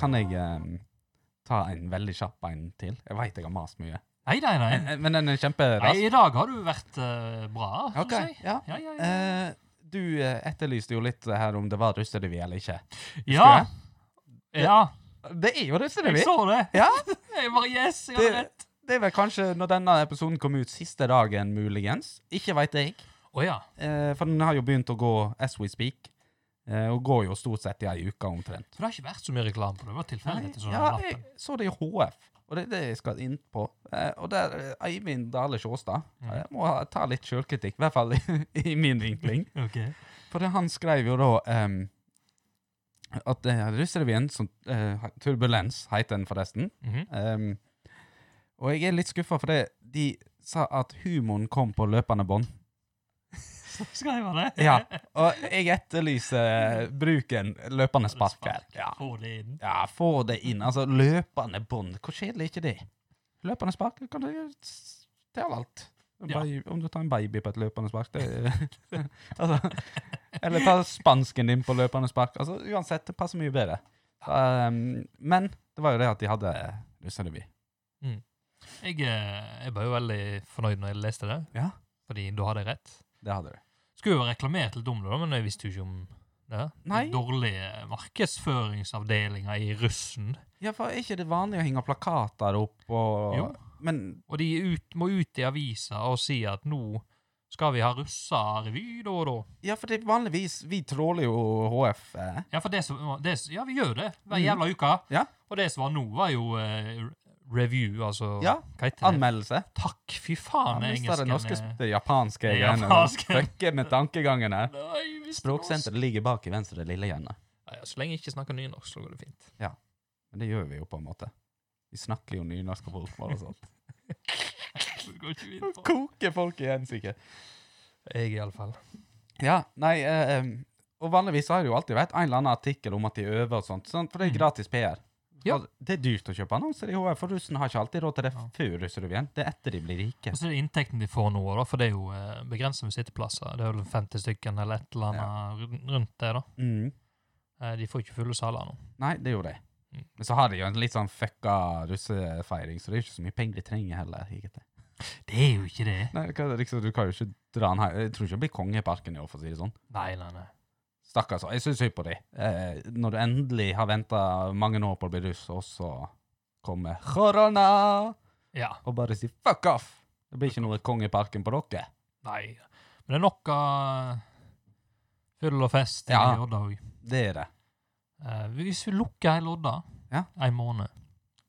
C: Kan jeg eh, ta en veldig kjapp en til? Jeg veit jeg har mast mye,
B: Nei, nei, nei.
C: men, men den er
B: nei.
C: kjemperask.
B: I dag har du vært eh, bra, synes
C: Ok,
B: jeg.
C: ja.
B: Ja, ja, ja.
C: Eh, du eh, etterlyste jo litt her om det var russerevy eller ikke.
B: ja. ja,
C: Det er jo russerevy!
B: jeg så det.
C: Ja.
B: <laughs> Jeg bare yes, jeg
C: Det,
B: har rett.
C: det er vel kanskje når denne episoden kom ut, siste dagen muligens. Ikke veit jeg.
B: Å ja.
C: Eh, for den har jo begynt å gå as we speak, eh, og går jo stort sett i ei uke omtrent.
B: Så det har ikke vært så mye reklame på det? Det var tilfeldig til sånn
C: Ja, jeg
B: lappen.
C: så det i HF, og det er det jeg skal inn på. Eh, og der eh, Eivind Dale Sjåstad
B: Mhm.
C: Jeg må ha- ta litt sjølkritikk, i hvert fall i, <laughs> i min vinkling.
B: Ok.
C: For det, han skrev jo da em, at eh, Russrevyen, som eh, ha- Turbulens heter den forresten
B: Mhm.
C: em, Ehm, Og jeg er litt skuffa, for det, de sa at humoren kom på løpende bånd.
B: <laughs> Så skrev han det.
C: Ja, og jeg etterlyser bruken løpende spark her. Ja.
B: Få det inn.
C: Ja, få det inn. Altså, løpende bånd. Hvor kjedelig er ikke det? Løpende spark det kan du gjøre s- til alt. En
B: Ja.
C: baby- Om du tar en baby på et løpende spark det, <laughs> er- altså, Eller ta spansken din på løpende spark. Altså, uansett, det passer mye bedre. Um, men Det var jo det at de hadde Russerevy.
B: Jeg, eh, jeg var jo veldig fornøyd når jeg leste det,
C: Ja,
B: fordi da hadde jeg rett.
C: det hadde du.
B: Skulle jo reklamert litt om det, da, men jeg visste jo ikke om det.
C: Nei.
B: Dårlige markedsføringsavdelinger i russen.
C: Ja, for er ikke det vanlig å henge plakater opp og
B: Jo.
C: Men
B: Og de er ut, må ut i aviser og si at nå skal vi ha russerevy da og da.
C: ja, for det er vanligvis Vi tråler jo HF. Eh.
B: Ja, for det som, det, som- ja vi gjør det hver
C: Mm.
B: jævla uke.
C: Ja.
B: Og det som var nå, var jo eh, review, altså
C: Ja,
B: Hva heter det?
C: Anmeldelse.
B: Takk, fy faen,
C: Han mista
B: engelsken
C: det norske
B: er-
C: Det japanske
B: Det
C: greiene.
B: japanske.
C: <laughs> Fucke med tankegangen her.
B: Nei, vi skal
C: Språksenteret ligger bak i venstre lille hjørne.
B: også- Nei, Så lenge jeg ikke snakker nynorsk, så går det fint.
C: Men det gjør vi jo på en måte. Vi snakker jo nynorsk og folk
B: <laughs>
C: bare sånn.
B: Det går ikke fint på.
C: Koker folk igjen, sikkert.
B: Jeg iallfall.
C: Ja, nei eh, em, Og vanligvis har det jo alltid vært en eller annen artikkel om at de øver og sånt, sånn, for det
B: Mm.
C: er gratis PR.
B: Ja.
C: Og Det er dyrt å kjøpe annonser i HF, for russen har ikke alltid råd til det
B: Ja.
C: før russerevyen. Det er etter de blir rike.
B: Og så er det inntekten de får nå, da, for det er jo eh, begrenset med sitteplasser. Det er vel 50 stykken eller et eller annet rund- rundt det. da.
C: Mm.
B: Eh, De får ikke fulle saler nå.
C: Nei, det er jo det.
B: Mm.
C: Men så har de jo en litt sånn fucka russefeiring, så det er jo ikke så mye penger de trenger heller. egentlig.
B: Det er jo ikke det.
C: Nei, hva, liksom, Du kan jo ikke dra den her. Jeg tror ikke det blir Kongeparken i år, for å si det sånn.
B: Nei, nei, nei.
C: Stakkars. Jeg syns synd på de. Eh, når du endelig har venta mange år på å bli russ, og så kommer korona
B: Ja,
C: og bare sier fuck off! Det blir ikke noe Kongeparken på dere.
B: nei. Men det er nok av eh, fyll og fest
C: Ja.
B: i Odda òg.
C: Det er det.
B: Eh, Hvis vi lukker hele Odda
C: Ja.
B: en måned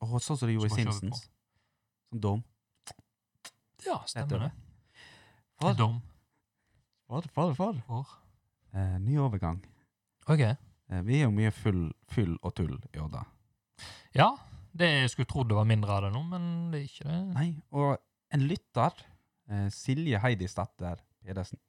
C: Og sånn som de gjorde
B: Så må vi
C: i
B: kjøre
C: Simpsons. Sånn dum.
B: Ja,
C: Etter
B: stemmer
C: det.
B: det. Det er dum.
C: Far, far, far.
B: for.
C: Eh, ny overgang.
B: OK.
C: Eh, vi er jo mye full, full og tull i Odda.
B: Ja, det jeg skulle trodd det var mindre av det nå, men det er ikke det.
C: Nei, og en lytter, eh, Silje Heidisdatter Pedersen,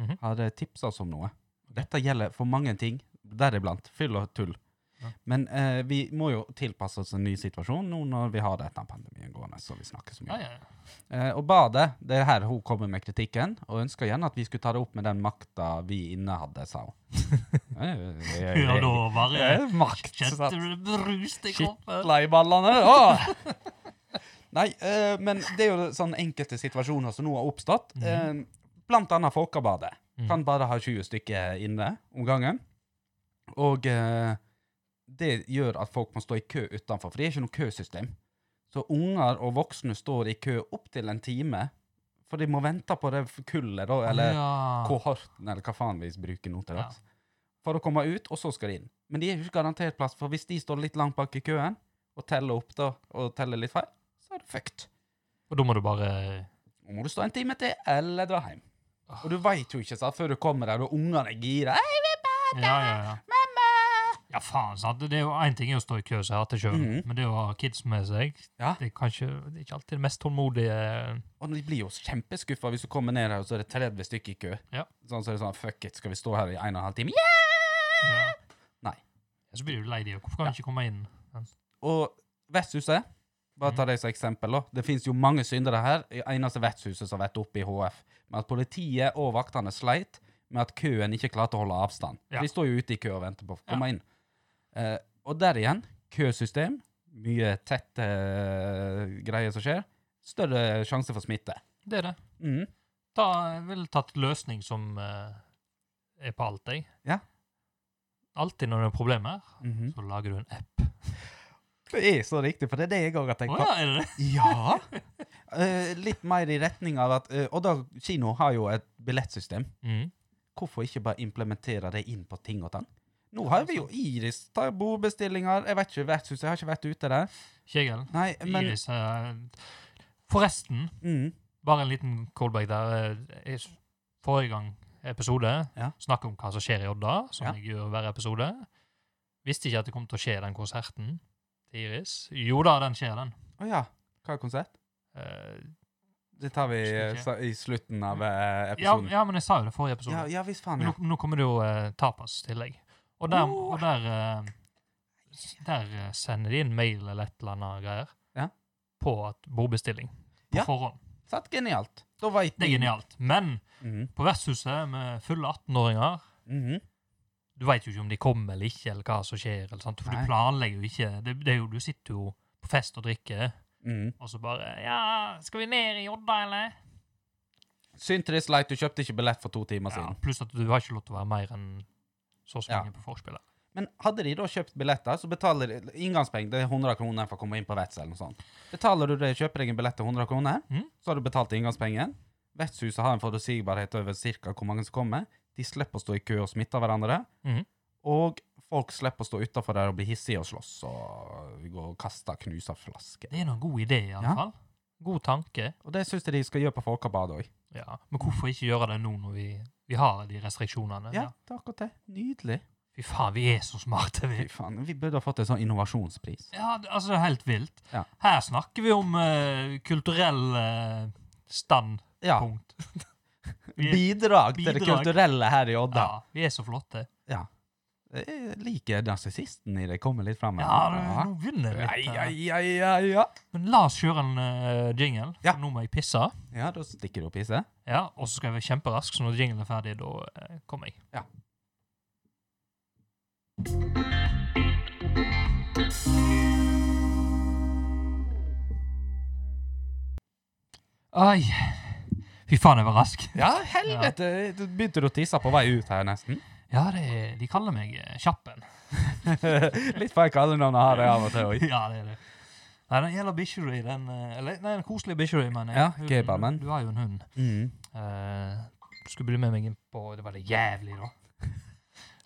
B: Mhm.
C: hadde tipsa oss om noe. Dette gjelder for mange ting, deriblant fyll og tull.
B: Ja.
C: Men eh, vi må jo tilpasse oss en ny situasjon nå når vi har dette pandemien gående. så vi snakker så mye.
B: Ja, ja.
C: Eh, og badet, det er her hun kommer med kritikken, og ønsker gjerne at vi skulle ta det opp med den makta vi inne hadde, sa
B: <laughs>
C: hun. Eh, eh, eh,
B: ja da var det
C: eh, Makt!
B: Kjente
C: sa-
B: du det bruste i kroppen?
C: Skitla i ballene. Åh! <laughs> Nei, eh, men det er jo sånn enkelte situasjoner som nå har oppstått. Eh, blant annet Folkabadet.
B: Mhm.
C: Kan bare ha 20 stykker inne om gangen. Og eh, det gjør at folk må stå i kø utenfor, for det er ikke noe køsystem. Så unger og voksne står i kø opptil en time, for de må vente på det kullet, da, eller
B: Ja.
C: kohorten, eller hva faen vi bruker nå til
B: Ja.
C: dags, for å komme ut, og så skal de inn. Men de er jo ikke garantert plass, for hvis de står litt langt bak i køen, og teller opp da, og teller litt feil, så er det fucked.
B: Og da må du bare
C: Nå må du stå en time til, eller dra hjem.
B: Ah.
C: Og du veit jo ikke sant, før du kommer der, og ungene er gira. «Hei,
B: Ja,
C: vi
B: ja, ja.
C: Mamma!
B: Ja, faen, sant. Det er jo én ting er å stå i kø, så jeg har hatt det sjøl,
C: Mhm.
B: men det å ha kids med seg
C: Ja.
B: det, er kanskje, det er ikke alltid det mest tålmodige
C: Og de blir jo kjempeskuffa hvis du kommer ned her, og så er det 30 stykker i kø.
B: Ja.
C: Sånn så er det sånn, fuck it, skal vi stå her i en og en halv time? Yeah!
B: ja.
C: Nei.
B: Ja, Så blir du lei deg. Hvorfor kan
C: Ja.
B: du ikke komme inn?
C: Og vertshuset, bare
B: Mhm.
C: ta det som eksempel, da. det finnes jo mange syndere her. Det eneste vertshuset som har vært oppe i HF, med at politiet og vaktene sleit med at køen ikke klarte å holde avstand.
B: Ja.
C: De står jo ute i kø og venter på å
B: Ja.
C: komme inn. Eh, og der igjen, køsystem, mye tette eh, greier som skjer, større sjanse for smitte.
B: Det er det.
C: Mm.
B: Da jeg ville tatt løsning som eh, er på alt, jeg.
C: Ja.
B: Alltid når det er problemer,
C: Mhm.
B: så lager du en app.
C: Det er så riktig, for det er det jeg òg har
B: Å
C: tenkt på.
B: ja, er det det?
C: <laughs> Ja. Eh, litt mer i retning av at eh, Odda kino har jo et billettsystem.
B: Mm.
C: Hvorfor ikke bare implementere det inn på ting og tang? Nå har vi jo Iris. Ta bordbestillinger. Jeg vet ikke vertshuset. Jeg har ikke vært ute der.
B: Kjegel.
C: Nei, men
B: Iris eh, Forresten,
C: mm,
B: bare en liten callback der. eh, Jeg, s- forrige gang episode
C: Ja.
B: snakk om hva som skjer i Odda, som
C: Ja.
B: jeg gjør hver episode. Visste ikke at det kom til å skje den konserten til Iris. Jo da, den skjer, den.
C: Å ja. Hva er konsert?
B: Eh,
C: Det tar vi
B: Husker
C: eh,
B: ikke.
C: sa- i slutten av eh,
B: ja,
C: episoden.
B: ja, men jeg sa jo det forrige episode.
C: Ja, ja visst faen.
B: Men
C: Ja.
B: nå, nå kommer det jo eh, tapas-tillegg. Og der,
C: Oh.
B: og der, eh, s- der eh, sender de inn mail eller et eller annet greier
C: Ja.
B: på at bordbestilling på
C: Ja. Mm.
B: forhånd.
C: Satt genialt. Da veit
B: Det er genialt. Men
C: Mm Mm-hmm.
B: på vertshuset med fulle 18-åringer, Du veit jo ikke om de kommer eller ikke, eller hva som skjer. eller sant? For
C: Nei.
B: du planlegger jo ikke. Det, det er jo, Du sitter jo på fest og drikker,
C: Mm.
B: og så bare Ja, skal vi ned i Odda, eller?
C: Synd til Light, du kjøpte ikke billett for to timer
B: Ja,
C: siden.
B: pluss at du har ikke lov til å være mer enn så og så
C: Ja.
B: mange på forspillet.
C: Men hadde de da kjøpt billetter, så betaler de inngangspenger. Det er 100 kroner for å komme inn på Vets eller noe sånt. Betaler du det, kjøper deg en billett til 100 kroner,
B: Mhm.
C: så har du betalt inngangspengen. Vetshuset har en forutsigbarhet over cirka hvor mange som kommer. De slipper å stå i kø og smitte hverandre.
B: Mhm.
C: Og folk slipper å stå utafor der og bli hissige og slåss og gå og kaste knusa flasker.
B: Det er nå en god idé,
C: Ja.
B: iallfall. fall. God tanke.
C: Og det syns jeg de skal gjøre på Folkabadet òg.
B: Ja. Men hvorfor ikke gjøre det nå når vi, vi har de restriksjonene?
C: Ja, det er akkurat det. Nydelig.
B: Fy faen, vi er så smarte, vi.
C: Fy faen, vi burde ha fått en sånn innovasjonspris.
B: Ja, det- altså, det er helt vilt.
C: Ja.
B: Her snakker vi om eh, kulturell eh, standpunkt.
C: Ja.
B: <laughs> Vi er,
C: Bidrag til det
B: Bidrag.
C: kulturelle her i Odda.
B: ja, vi er så flotte.
C: Jeg Eh, liker narsissisten i det kommer litt fram. her.
B: Ja, det, nå begynner det litt.
C: Ja,
B: eh.
C: ja, ja, ja.
B: Men la oss kjøre en eh, jingle,
C: Ja.
B: for nå må jeg pisse.
C: Ja, da stikker du opp i seg.
B: Ja, og så skal jeg være kjemperask, så når jinglen er ferdig, da eh, kommer jeg.
C: Ja.
B: Ai. Fy faen, jeg var rask.
C: Ja, helvete! Du Begynte du å tisse på vei ut her, nesten? <laughs>
B: Ja, det, er- de kaller meg eh, Kjappen.
C: litt feil kallenavn å ha det av og til òg.
B: Ja, det er det. Nei, den gjelder bikkja di. Den, eh, eller, nei, den koselige bikkja di, mener jeg.
C: Ja,
B: Hun-
C: Gaberman.
B: Du har jo en hund.
C: Mm.
B: Eh, skulle bli med meg inn på Det var det jævlig, da.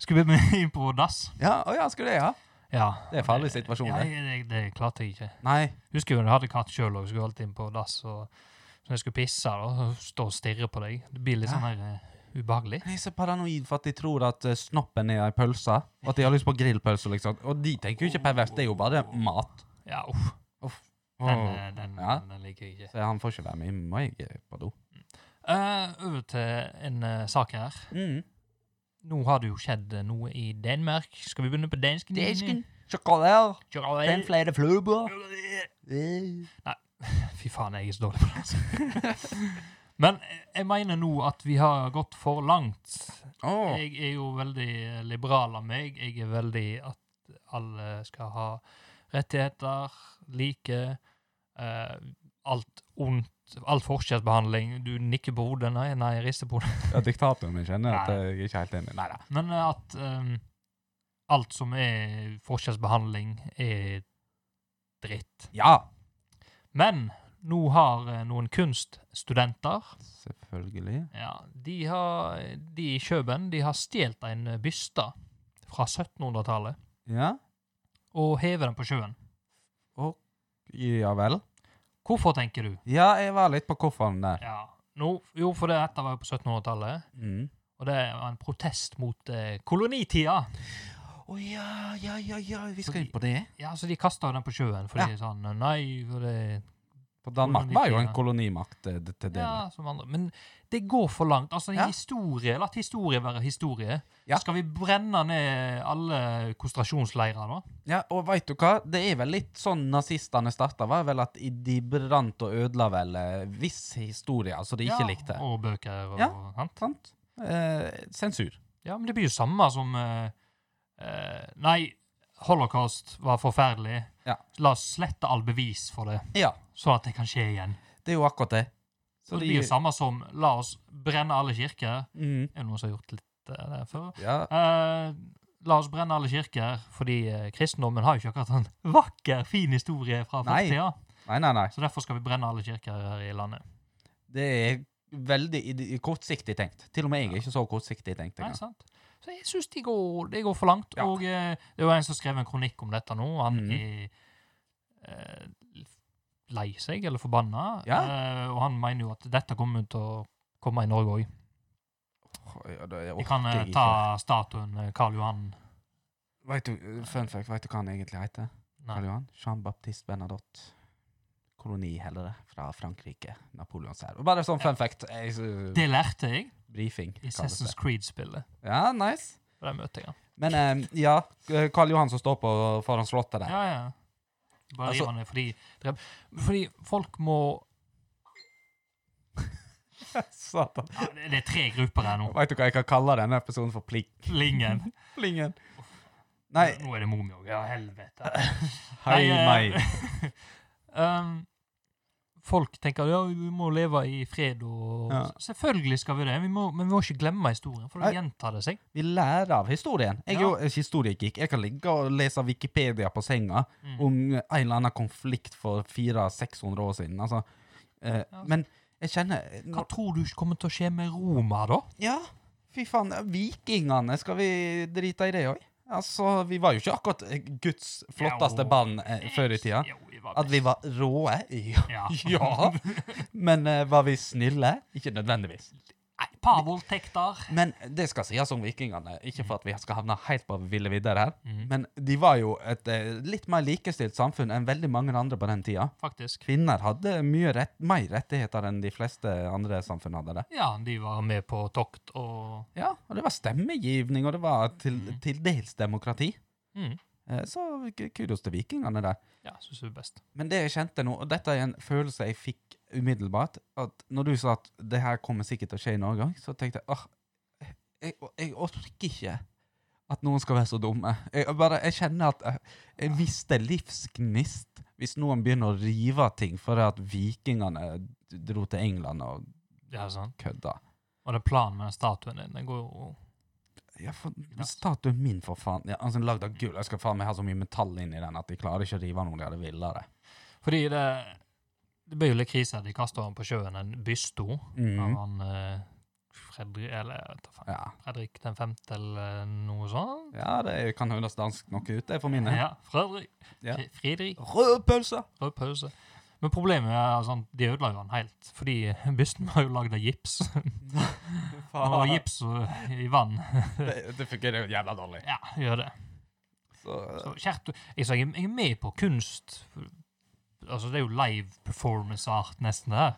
B: Skulle bli med inn på dass.
C: Ja, å ja, skal du det, ja?
B: Ja.
C: Det er farlig situasjon,
B: Ja,
C: det.
B: det, det klarte jeg ikke.
C: Nei.
B: Husker jo når jeg hadde katt sjøl og skulle alltid inn på dass. og så Når jeg skulle pisse, da, så stå og stirre på deg. Det blir litt
C: Ja.
B: sånn her eh, ubehagelig.
C: Jeg er så paranoid for at de tror at eh, snoppen er ei pølse, og at de har lyst på grillpølse, liksom. Og de tenker jo ikke perverst, det er jo bare mat.
B: Ja, uff. Den, eh, den,
C: Ja.
B: den liker jeg ikke.
C: Så han får ikke være med, må jeg eh, på do.
B: Eh, over til en eh, sak her.
C: Mm.
B: Nå har det jo skjedd eh, noe i Danmark. Skal vi begynne på dansken?
C: Sjokolade!
B: Chocolate.
C: flere fløyebord!
B: <laughs> Fy faen, jeg er så dårlig på det. <laughs> Men jeg mener nå at vi har gått for langt.
C: Åh,
B: Jeg er jo veldig liberal av meg. Jeg er veldig at alle skal ha rettigheter, like, eh, alt ondt, all forskjellsbehandling. Du nikker på hodet, nei, nei, rister på hodet.
C: ja, diktatoren min kjenner at eh, jeg er ikke helt enig. Neida.
B: Men eh, at ehm, alt som er forskjellsbehandling, er dritt.
C: Ja!
B: Men nå har eh, noen kunststudenter
C: Selvfølgelig.
B: ja, de, har, de i Kjøben de har stjålet en eh, byste fra 1700-tallet
C: Ja,
B: og hevet den på sjøen.
C: ja vel.
B: Hvorfor, tenker du?
C: Ja, jeg var litt på kofferen der.
B: Ja, nå- jo, for det dette var jo på 1700-tallet,
C: Mm.
B: og det var en protest mot eh, kolonitida.
C: Å ja, ja, ja, ja, vi
B: skal inn
C: på det.
B: Ja, så de kasta den på sjøen fordi sånn Nei, for det
C: For Danmark var jo en kolonimakt eh, til det.
B: Ja, som andre. Men det går for langt. Altså,
C: Ja.
B: historie, La historie være historie.
C: Ja.
B: Skal vi brenne ned alle konsentrasjonsleirer, da?
C: Ja, og veit du hva? Det er vel litt sånn nazistene starta, var vel at de brant og ødela vel eh, viss historie som de ikke likte.
B: Og bøker og
C: Ja.
B: sant?
C: Sant? Eh, sensur.
B: Ja, men det blir jo samme som eh, eh, Nei, holocaust var forferdelig.
C: Ja.
B: La oss slette all bevis for det,
C: Ja,
B: sånn at det kan skje igjen.
C: det er jo akkurat det.
B: Så det blir jo samme som la oss brenne alle kirker.
C: Mm.
B: Er det noen som har gjort litt eh, det før?
C: Ja,
B: Eh, la oss brenne alle kirker, fordi eh, kristendommen har jo ikke akkurat en <laughs> vakker, fin historie fra
C: Nei.
B: fortida.
C: nei, nei, nei.
B: Så derfor skal vi brenne alle kirker her i landet.
C: Det er veldig ide- kortsiktig tenkt. Til og med jeg er ikke så kortsiktig tenkt
B: Nei,
C: engang.
B: sant? Så jeg syns de, går- de går for langt.
C: Ja.
B: Og eh, det var en som skrev en kronikk om dette nå. Han
C: Mhm.
B: er eh, lei seg, eller forbanna. Eh, og han mener jo at dette kommer til å komme i Norge òg.
C: Åh, ja, det
B: Vi kan eh,
C: orker jeg
B: ta
C: ikke.
B: statuen eh, Karl Johan.
C: Vet du, fun fact, vet du hva han egentlig heter?
B: Nei.
C: Karl Johan? Jean-Baptiste Bernadotte. Koloniheldere fra Frankrike. Napoleons her. Bare sånn fun fact. Jeg, s-
B: Det lærte jeg
C: briefing.
B: i
C: kalles det.
B: Assassin's Creed-spillet.
C: Ja, nice.
B: Der møtte jeg han.
C: Men eh, ja, Karl Johan som står på foran slottet der.
B: Ja, ja. Bare
C: Altså-
B: river ned fordi, fordi folk må
C: <laughs> Satan.
B: Ja, det det er tre grupper her nå.
C: <laughs> Veit du hva jeg kan kalle denne episoden for plik?
B: Lingen.
C: Plingen. Nei,
B: Nå er det Mumi òg. Ja, helvete.
C: hei
B: Nei, eh,
C: meg.
B: Um, folk tenker ja, vi må leve i fred og
C: Ja.
B: Selvfølgelig skal vi det, vi må, men vi må ikke glemme historien, for da
C: Nei.
B: gjentar det seg.
C: Vi lærer av historien. Jeg er jo ikke historiegeek. Jeg kan ligge og lese Wikipedia på senga
B: Mm.
C: om en eller annen konflikt for 400-600 år siden. Altså. Eh,
B: altså.
C: Men jeg kjenner
B: Hva tror du kommer til å skje med Roma, da?
C: Ja, fy faen. Vikingene, skal vi drite i det òg? Altså, vi var jo ikke akkurat eh, Guds flotteste
B: Jo.
C: band eh, før i tida.
B: Jo, vi var
C: At vi var råe? <laughs> Ja.
B: Ja.
C: ja. Men eh, var vi snille? Ikke nødvendigvis.
B: Nei, Et par voldtekter.
C: Men det skal sies om vikingene, ikke for at vi skal havne helt på ville vidder her,
B: Mhm.
C: men de var jo et eh, litt mer likestilt samfunn enn veldig mange andre på den tida.
B: Faktisk.
C: Kvinner hadde mye rett, mer rettigheter enn de fleste andre samfunn hadde det.
B: Ja, de var med på tokt og
C: Ja, og det var stemmegivning, og det var til, til dels demokrati.
B: mm.
C: Eh, Så k- kudos til vikingene der.
B: Ja, syns jeg er best.
C: Men det jeg kjente nå, og dette er en følelse jeg fikk umiddelbart, at når du sa at det her kommer sikkert til å skje noen gang, så tenkte jeg, åh, jeg, jeg orker ikke at noen skal være så dumme. Jeg, bare, jeg kjenner at jeg, jeg mister livsgnist hvis noen begynner å rive av ting for at vikingene dro til England og
B: Ja, sånn.
C: kødda.
B: Og den planen med den statuen din, den går jo
C: Ja, for statuen min, for faen. Ja, altså, lagd av gull. Jeg skal faen meg ha så mye metall inn i den at de klarer ikke å rive av noe de hadde villere.
B: Fordi det Det ble jo litt krise at de kasta han på sjøen, en bysto
C: Mm.
B: av han eh, Fredrik Eller jeg vet da faen.
C: Ja.
B: Fredrik den femte, eller noe sånt.
C: ja, det kan høres dansk nok ut, det er for mine.
B: Ja, Fredrik.
C: Ja.
B: Fri- Fridrik.
C: Rød pølse!
B: Rød pause. Men problemet er altså, de ødela jo han helt, fordi <laughs> bysten var jo lagd av
C: <laughs>
B: gips. Og gips og- i vann
C: Det, det fungerer jo jævla dårlig.
B: Ja, gjør det.
C: Så,
B: Så skjerp du Jeg sa jeg er jeg er med på kunst. Altså, det er jo live performance art, nesten, det her.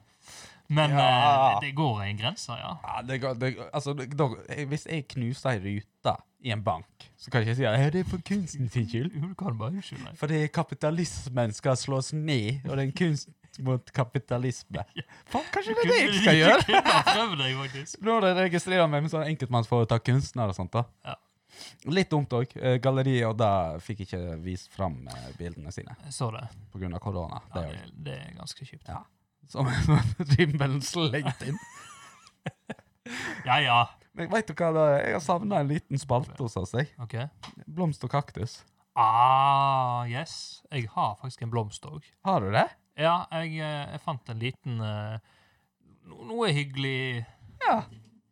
B: Men
C: Ja.
B: eh, det går en grense, ja.
C: ja, det, går- det, altså, det, da, hvis jeg knuser ei rute i en bank, så kan jeg ikke si at det er for kunsten sin skyld.
B: Jo, Du kan bare unnskylde meg.
C: Fordi kapitalismen skal slås ned, og det er en kunst mot kapitalisme. Faen, kanskje det er det jeg skal
B: <laughs>
C: gjøre?
B: Prøv deg, faktisk.
C: Nå har jeg registrert meg med sånn enkeltmannsforetak kunstner og sånt. da.
B: Ja.
C: Litt dumt òg. Galleriet og da fikk ikke vist fram eh, bildene sine
B: Jeg så det.
C: pga. korona.
B: Ja,
C: Det er
B: det,
C: jo-
B: det er ganske kjipt.
C: Ja. Som <laughs> rimmelen slengt inn.
B: Ja ja.
C: Men vet du hva, da? jeg har savna en liten spalte hos oss. jeg.
B: OK.
C: Blomst og kaktus.
B: Ah, yes. Jeg har faktisk en blomst òg.
C: Har du det?
B: Ja, jeg, eh, jeg fant en liten eh, no- Noe hyggelig,
C: Ja.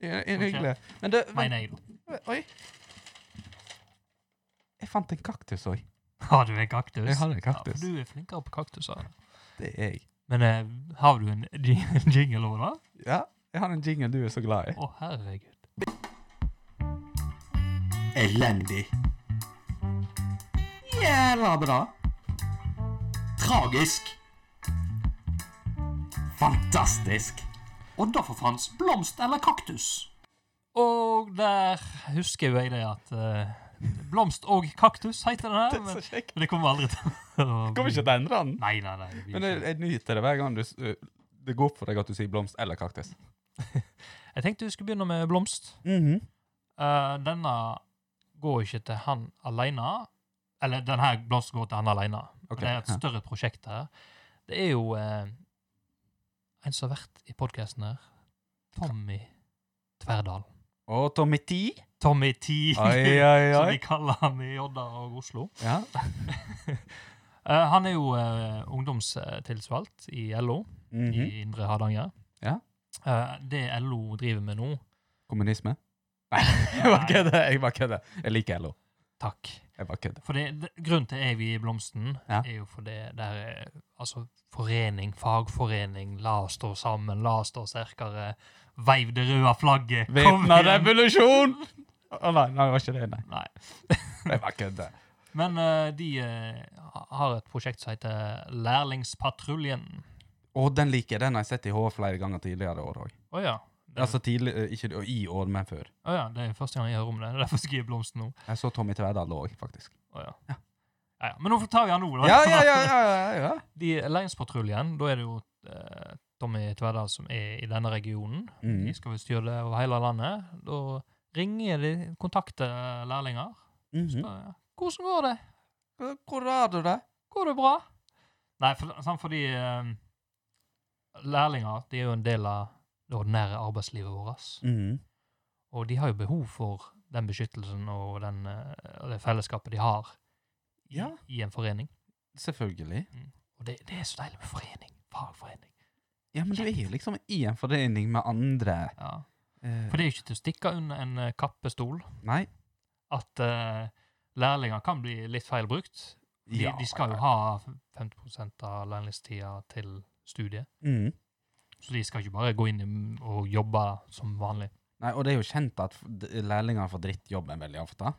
C: Er- er
B: Ok.
C: Hyggelig. Men du vent-
B: mener jeg, da. <laughs>
C: Oi. Jeg fant en kaktus òg.
B: Har du en kaktus?
C: Jeg har en
B: Ja,
C: kaktus.
B: for du er flinkere på kaktuser.
C: Det er jeg.
B: Men eh, har du en <laughs> jing- jingle over det?
C: Ja, jeg har en jingle du er så glad i.
B: Å, herregud.
D: Elendig. Jævla bra. Tragisk. Fantastisk. Og da for fans blomst eller kaktus?
B: Og der husker jo jeg det at eh, Blomst og kaktus heter den her. Men
C: Så kjekk.
B: men det kommer aldri
C: <laughs>
B: til å
C: Kommer ikke til å endre den.
B: Nei, nei, nei. det blir
C: Men
B: ikke
C: jeg,
B: det.
C: jeg nyter det hver gang du, s- ø, det går opp for deg at du sier blomst eller kaktus.
B: Jeg tenkte vi skulle begynne med blomst. Eh, denne går ikke til han aleine. Eller denne blomsten går til han aleine.
C: Ok,
B: Det er et
C: ja.
B: større prosjekt her. Det er jo eh, en som har vært i podkasten her. Tommy Tverdal.
C: Og Tommy
B: <laughs>
C: T.
B: Tommy T,
C: Oi, oi,
B: som
C: oi.
B: de kaller ham i Odda og Oslo.
C: Ja.
B: Eh, han er jo eh, ungdomstilsvalgt i LO i Indre Hardanger.
C: Mhm. Ja.
B: Eh, det LO driver med nå
C: Kommunisme?
B: <laughs>
C: Nei, jeg bare kødder. Jeg bare kødder. Jeg liker LO.
B: Takk.
C: Jeg bare kødder.
B: For det, det, grunnen til jeg vil gi blomsten,
C: Ja.
B: er jo fordi det er altså, forening, fagforening, la oss stå sammen, la oss stå sterkere, veiv det røde flagget,
C: Væpna revolusjon! Å nei, nei, det var ikke det, nei.
B: Nei.
C: Jeg bare kødder.
B: Men eh, de eh, ha- har et prosjekt som heter Lærlingspatruljen.
C: Og den liker jeg. Den har jeg sett i HV flere ganger tidligere år òg.
B: Å ja. Det,
C: Altså tidlig, ø, ikke ø, i år, men før.
B: å ja. det er første gang jeg hører om det. Det er derfor jeg skal gi blomsten nå.
C: Jeg så Tommy Tverdal òg, faktisk.
B: Å ja.
C: Ja.
B: Ja. Ja, Men nå tar vi han nå. da. <laughs>
C: Ja, ja, ja, ja, ja, ja.
B: De Lærlingspatruljen, da er det jo eh, Tommy Tveddal som er i denne regionen.
C: Mm.
B: De skal visst gjøre det over hele landet. Da ringer de, kontakter lærlinger.
C: Mhm.
B: Spør, ja, 'Hvordan går det?
C: Hvor- Hvor har du det?
B: Går det bra?' Nei, for, sant, fordi eh, lærlinger de er jo en del av det ordinære arbeidslivet vårt.
C: Mhm.
B: Og de har jo behov for den beskyttelsen og den, eh, og det fellesskapet de har i,
C: Ja.
B: i en forening.
C: Selvfølgelig.
B: Og det, det er så deilig med forening. Fagforening.
C: Ja, men du er jo liksom i en forening med andre.
B: Ja.
C: eh,
B: For det er jo ikke til å stikke under en eh, kappestol
C: Nei.
B: at eh, lærlinger kan bli litt feilbrukt. De,
C: Ja.
B: de skal jo ha 50 av lærlingstida til studiet,
C: Mhm.
B: så de skal ikke bare gå inn i- og jobbe som vanlig.
C: Nei, og det er jo kjent at f- d- lærlinger får drittjobben veldig ofte.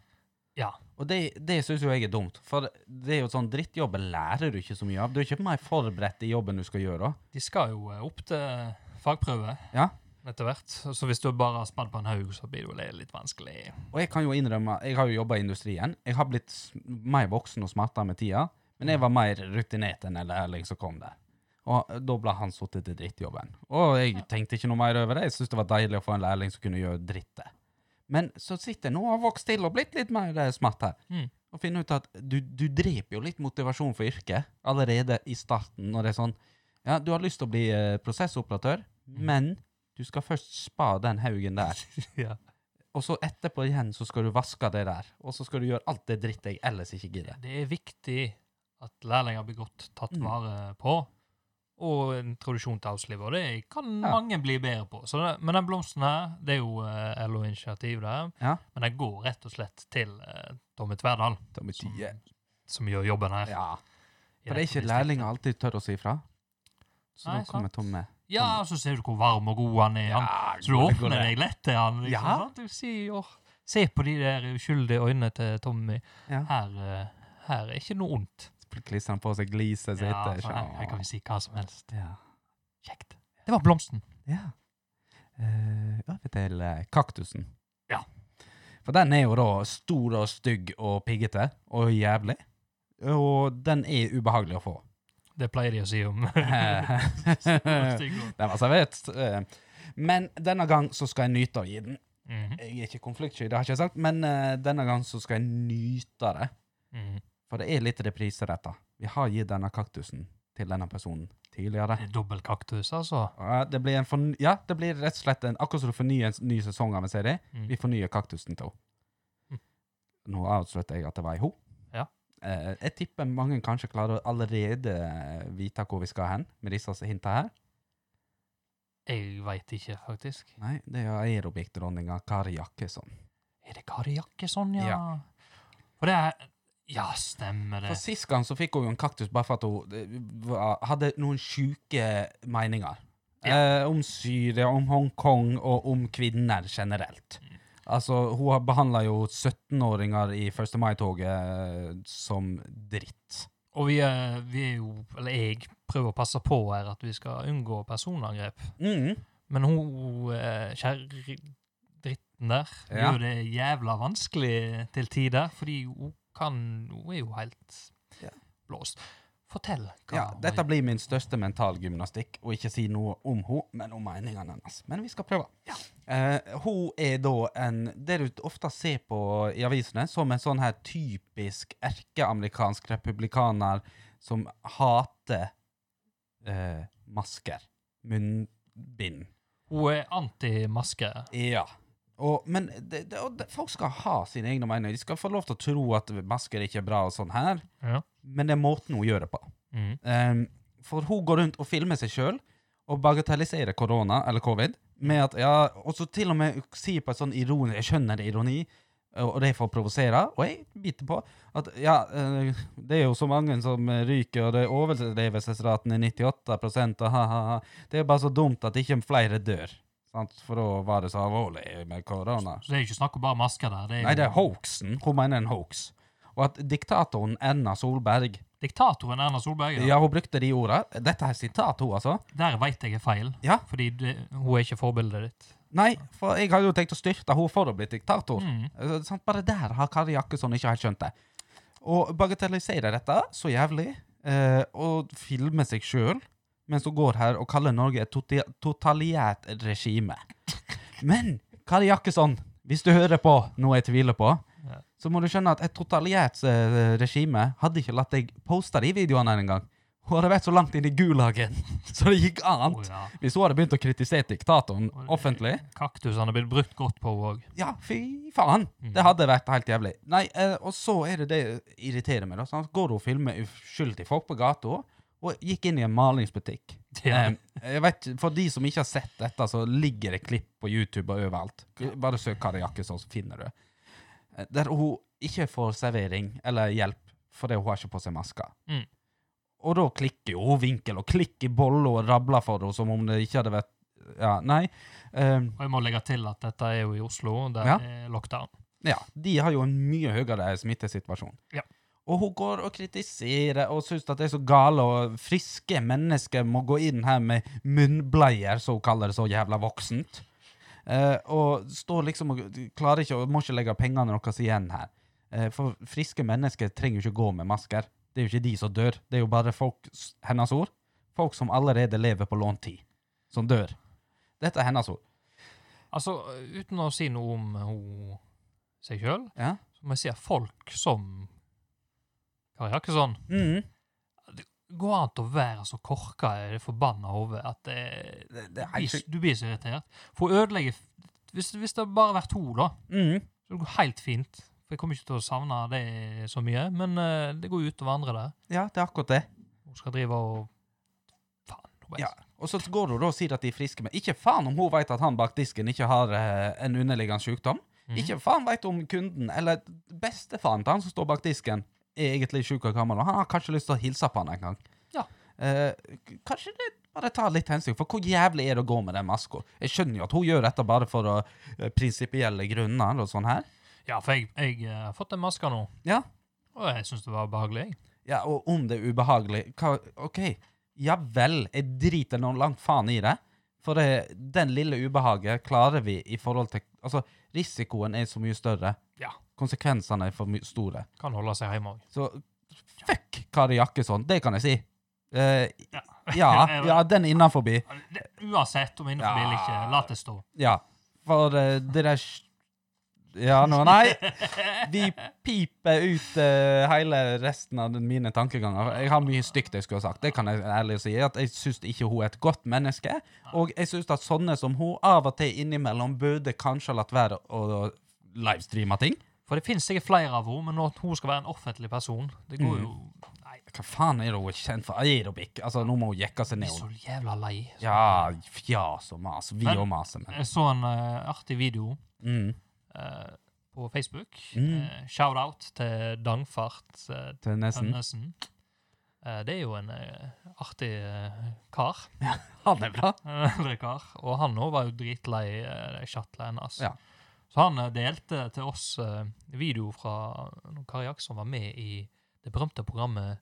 B: Ja.
C: Og det, det syns jo jeg er dumt, for det er jo sånn drittjobben lærer du ikke så mye av. Du er ikke mer forberedt i jobben du skal gjøre.
B: De skal jo eh, opp til fagprøve
C: Ja.
B: etter hvert, så hvis du bare har spadd på en haug, så blir det jo le- litt vanskelig.
C: Og jeg kan jo innrømme, jeg har jo jobba i industrien. Jeg har blitt s- mer voksen og smartere med tida, men jeg var mer rutinert enn en lærling som kom der. Og da ble han sittet i drittjobben. Og jeg tenkte ikke noe mer over det. Jeg syntes det var deilig å få en lærling som kunne gjøre drittet. Men så sitter jeg nå og har vokst til og blitt litt mer eh, smart her.
B: Mm.
C: Og finner ut at du, du dreper jo litt motivasjon for yrket allerede i starten. Når det er sånn Ja, du har lyst til å bli eh, prosessoperatør,
B: Mm.
C: men du skal først spa den haugen der.
B: <laughs> ja.
C: Og så etterpå igjen så skal du vaske det der, og så skal du gjøre alt det drittet jeg ellers ikke gidder.
B: Det er viktig at lærlinger blir godt tatt
C: Mm.
B: vare på, og introduksjon til arbeidslivet. Og det kan
C: Ja.
B: mange bli bedre på. Så det, men den blomsten her, det er jo eh, LO-initiativ der,
C: Ja.
B: men den går rett og slett til eh, Tommy Tverdal, som, som gjør jobben her.
C: Ja,
B: i
C: for det er ikke
B: distriktet.
C: lærlinger alltid tør å si ifra. Så
B: Nei,
C: da kommer
B: sant.
C: Tomme.
B: Ja, så ser du hvor varm og god han er. Han, så du
C: går det- går
B: åpner
C: det.
B: deg lett til han. Liksom,
C: Ja.
B: sant? Du sier, åh, se på de der uskyldige øynene til Tommy.
C: Ja.
B: Her, eh, her er ikke noe ondt.
C: Klistrer han på seg gliset sitt.
B: Ja,
C: eh,
B: for her, her kan vi si hva som helst.
C: ja.
B: Kjekt. Det var blomsten.
C: ja. Eh, Over til eh, kaktusen.
B: Ja.
C: For den er jo da stor og stygg og piggete og jævlig. Og den er ubehagelig å
B: <laughs>
C: få.
B: Det pleier de å si
C: <laughs>
B: om <laughs>
C: Den var servert. eh. Men denne gang så skal jeg nyte å gi den.
B: Mhm,
C: Jeg er ikke konfliktsky, det har ikke jeg sagt, men eh, denne gang så skal jeg nyte det.
B: mhm.
C: For det er litt reprise, dette. Vi har gitt denne kaktusen til denne personen tidligere.
B: Det er Dobbel kaktus, altså.
C: Ja, det blir, en forny ja, det blir rett og slett en, akkurat som du fornyer en ny sesong av en serie.
B: Mm.
C: Vi fornyer kaktusen til henne.
B: Mm.
C: Nå avslørte jeg at det var ei ho.
B: Ja.
C: Eh, jeg tipper mange kanskje klarer å allerede eh, vite hvor vi skal hen med disse hinta her.
B: Jeg veit ikke, faktisk.
C: Nei, det er jo aerobic-dronninga Kari Jakkesson.
B: Er det Kari Jakkesson, ja?
C: Ja.
B: Og det er Ja, stemmer
C: For
B: det.
C: sist gang så fikk hun jo en kaktus bare for at hun eh, var- hadde noen sjuke meninger. Eh, om Syria, om Hongkong og om kvinner generelt. Altså, hun har behandla jo 17-åringer i 1. mai-toget eh, som dritt.
B: Og vi er, vi er jo Eller jeg prøver å passe på her at vi skal unngå personangrep.
C: Mm.
B: Men hun eh, kjerridritten der
C: Ja.
B: gjør det jævla vanskelig til tider, fordi hun kan Hun er jo helt
C: Ja.
B: blåst. Fortell. hva
C: Ja,
B: hun
C: dette
B: har
C: blir min største mentalgymnastikk, og ikke si noe om hun, men om meningene hennes. Men vi skal prøve. Eh, hun er da en Det du ofte ser på i avisene, som en sånn her typisk erkeamerikansk republikaner som hater eh, masker. Munnbind.
B: Hun er antimaske.
C: Ja. Og, men det, det, og det, folk skal ha sine egne meninger. De skal få lov til å tro at masker ikke er bra, og sånn her,
B: Ja.
C: men det er måten hun gjør det på.
B: Mm.
C: Um, for hun går rundt og filmer seg sjøl og bagatelliserer korona, eller covid, med at ja, og så til og med sier på et sånn ironi Jeg skjønner det er ironi, og og det er for å provosere, og jeg biter på at ja, eh, det er jo så mange som eh, ryker, og det er overlevelsesraten er 98 og ha-ha-ha. Det er bare så dumt at ikke flere dør. Sant? For da var det så alvorlig med korona.
B: Så det er ikke snakk om bare masker der. Det er,
C: Nei, det er
B: jo
C: hoaxen. Hun mener en hoax. Og at diktatoren Erna Solberg
B: diktatoren Erna Solberg.
C: Ja, hun brukte de ordene. Dette er sitat, hun, altså.
B: Der veit jeg er feil,
C: Ja.
B: fordi det, hun er ikke forbildet ditt.
C: Nei, for jeg hadde jo tenkt å styrte henne for å bli diktator.
B: Mm.
C: Eh, Sant? Bare der har Kari Jakkesson ikke helt skjønt det. Og bagatelliserer dette så jævlig, eh, og filmer seg sjøl men som går her og kaller Norge et toti- totalitært regime. Men Kari Jakkesson, hvis du hører på noe jeg tviler på,
B: Ja.
C: så må du skjønne at et totalitært eh, regime hadde ikke latt deg poste de videoene her engang. Hun hadde vært så langt inn i gulagen, <laughs> så det gikk an.
B: Å, ja.
C: Hvis hun hadde begynt å kritisere diktatoren offentlig,
B: Kaktusene blir brukt godt på òg.
C: ja, fy faen.
B: Mm.
C: Det hadde vært helt jævlig. Nei, eh, og så er det det irriterer meg. da, sant? Går hun og filmer uskyldige folk på gata, og gikk inn i en malingsbutikk.
B: Ja.
C: Eh, jeg vet, ikke, for de som ikke har sett dette, så ligger det klipp på YouTube og overalt. Bare søk Kari Jakkesson, så finner du. Eh, Der hun ikke får servering eller hjelp fordi hun har ikke på seg maske.
B: Mm.
C: Og da klikker jo hun vinkel og klikker bolle og rabler for henne som om det ikke hadde vært Ja, nei. Eh,
B: Og jeg må legge til at dette er jo i Oslo, der
C: Ja.
B: er lockdown.
C: Ja, de har jo en mye høyere smittesituasjon.
B: Ja.
C: Og hun går og kritiserer og syns at det er så gale, og friske mennesker må gå inn her med munnbleier, som hun kaller det så jævla voksent. Eh, og står liksom og klarer ikke og må ikke legge pengene deres igjen her. Eh, for friske mennesker trenger jo ikke gå med masker. Det er jo ikke de som dør, det er jo bare folk, s- hennes ord, folk som allerede lever på lånt tid, som dør. Dette er hennes ord.
B: Altså, uten å si noe om hun seg sjøl,
C: Ja.
B: så må jeg si at folk som Kari Jakkesson
C: Mhm.
B: Går an til å være så korka i det forbanna hodet at det,
C: Det- det er
B: du,
C: helt
B: blir,
C: sjukt.
B: du blir så irritert. For å ødelegge Hvis, hvis det bare hadde vært hun, da,
C: Mhm.
B: så det går helt fint. For jeg kommer ikke til å savne det så mye, men eh, det går jo utover andre der.
C: Ja, det er akkurat det.
B: Hun skal drive og Faen. nå ble jeg-
C: Ja, og så går hun da og sier at de er friske, men ikke faen om hun vet at han bak disken ikke har eh, en underliggende sykdom.
B: Mhm.
C: Ikke faen vet om kunden, eller bestefaren til han som står bak disken, er egentlig syk og gammel, og han har kanskje lyst til å hilse på han en gang.
B: Ja.
C: Eh, k- kanskje det bare tar litt hensyn, for hvor jævlig er det å gå med den maska? Jeg skjønner jo at hun gjør dette bare for å, eh, prinsipielle grunner og sånn her.
B: Ja, for jeg, jeg eh, har fått den maska nå,
C: Ja.
B: og jeg syns det var behagelig. jeg.
C: Ja, og om det er ubehagelig hva, OK, ja vel, jeg driter noe langt faen i det. For det, den lille ubehaget klarer vi i forhold til Altså, risikoen er så mye større.
B: Ja.
C: Konsekvensene er for my store.
B: Kan holde seg hjemme òg.
C: Så fuck Kari Jakkesson, det kan jeg si. Eh,
B: Ja.
C: ja,
B: <laughs>
C: ja, den innafor.
B: Det- Uansett om innenfor eller ikke, la det stå.
C: Ja. For eh, det der sj- Ja, nå Nei! Vi piper ut eh, hele resten av den- mine tankeganger. Jeg har mye stygt jeg skulle ha sagt. Det kan jeg ærlig si. At jeg syns ikke hun er et godt menneske. Og jeg syns at sånne som hun av og til innimellom burde kanskje ha latt være å å livestreame ting.
B: For det finnes sikkert flere av henne, men at hun skal være en offentlig person Det går jo
C: Mm.
B: Nei,
C: Hva faen er det hun er kjent for? Aerobic? Altså, nå må hun jekke
B: jeg
C: seg ned.
B: er så jævla lei.
C: Ja, fjas og mas. Vi
B: Men-
C: og maser, men.
B: Jeg så en eh, artig video
C: Mm.
B: eh, på Facebook.
C: Mm.
B: Eh, Shout-out til Dangfart eh,
C: Til nesten.
B: Tønnesen. Eh, det er jo en eh, artig eh, kar.
C: Han
B: <laughs>
C: er bra.
B: Eldre kar. Og han òg var jo dritlei uh, shuttlet hennes.
C: Ja.
B: Så han eh, delte til oss eh, video fra når Kari Jaksson var med i det berømte programmet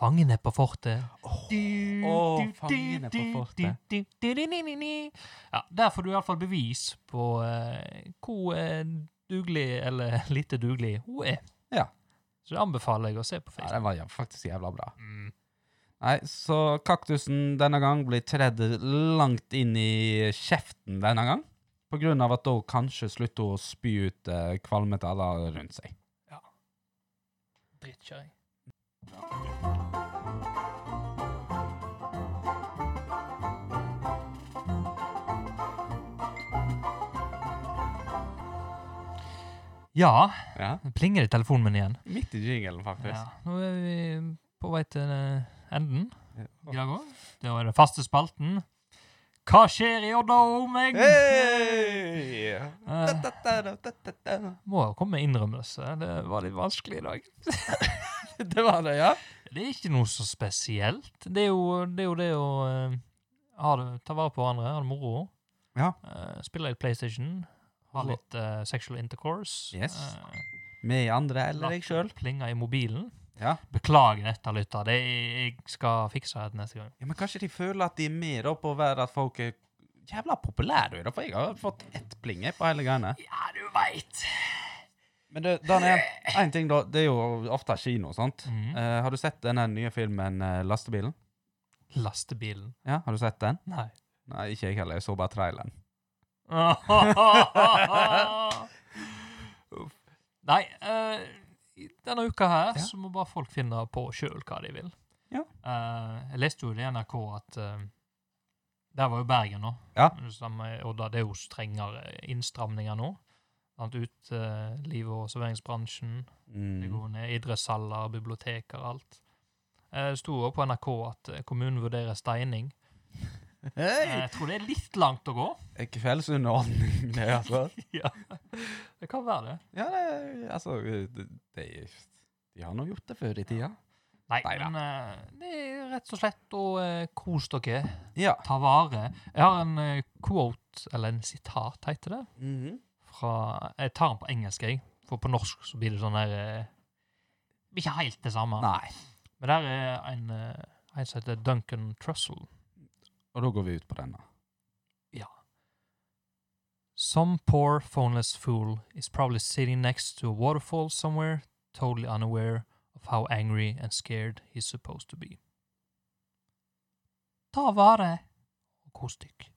B: Fangene på fortet.
C: Åh, Fangene på fortet.
B: Ja, der får du iallfall bevis på eh, hvor eh, dugelig eller <laughs> lite dugelig hun er.
C: Ja.
B: Så det anbefaler jeg å se på
C: Ja,
B: Facebook.
C: den var jæv- faktisk jævla bra.
B: Mm.
C: Nei, så kaktusen denne gang blir tredd langt inn i kjeften denne gang. På grunn av at da kanskje slutter hun å spy ut eh, kvalme til alle rundt seg.
B: Drittkjøring. Ja,
C: Ja,
B: det plinger i telefonen min igjen.
C: midt i jingelen
B: Ja, nå er vi på vei til eh, enden.
C: Ja.
B: I dag òg. Da er det faste spalten. Hva skjer i Odda og omegn?
C: Hei!
B: Eh, må jo komme med innrømmelse. Det var litt vanskelig i dag.
C: <laughs> Det var det, ja.
B: Det er ikke noe så spesielt. Det er jo det, er jo det å eh, ha det, ta vare på hverandre, ha det moro.
C: Ja.
B: Eh, spille litt PlayStation. Ha
C: Altså-
B: litt eh, sexual intercourse.
C: Yes.
B: eh,
C: Med andre eller deg
B: latt
C: sjøl.
B: Plinga i mobilen.
C: Ja.
B: Beklager dette, lytter. Det jeg skal fikse det neste gang.
C: ja, men kanskje de føler at de er med da på å være at folk er jævla populære, da, for jeg har fått ett plinge på hele greiene.
B: Ja, du veit.
C: Men du, Daniel, en ting da, det er jo ofte kino, sant?
B: Mhm.
C: Eh, har du sett denne nye filmen eh, Lastebilen?
B: Lastebilen.
C: Ja, Har du sett den?
B: Nei.
C: Nei, ikke jeg heller. Jeg så bare traileren.
B: Uff. <laughs> Nei, eh, i denne uka her
C: Ja.
B: så må bare folk finne på sjøl hva de vil.
C: Ja.
B: Eh, jeg leste jo i NRK at eh, Der var jo Bergen nå.
C: Ja.
B: Det samme- og da det er jo strengere innstramninger nå. Blant uteliv- og serveringsbransjen. Det
C: Mm.
B: går ned idrettshaller, biblioteker, alt. Eh, Det sto også på NRK at eh, kommunen vurderer steining. Eh,
C: Hei!
B: Jeg tror det er litt langt å gå.
C: Kveldsunderholdning, det, altså.
B: ja. Det kan være det.
C: Ja, det, altså det, det, De har nå gjort det før i tida.
B: Nei,
C: Neida.
B: men eh, det er rett og slett å eh, kose dere,
C: Ja.
B: ta vare. Jeg har en eh, quote, eller en sitat, heter det, fra Jeg tar den på engelsk, jeg, for på norsk så blir det sånn her eh, det blir Ikke helt det samme.
C: Nei.
B: Men der er en, eh, en som heter Duncan Trussell.
C: Og da går vi ut på denne.
B: Some poor phoneless fool is probably sitting next to a waterfall somewhere, totally unaware of how angry and scared he's supposed to be. Ta vare og kos dykk.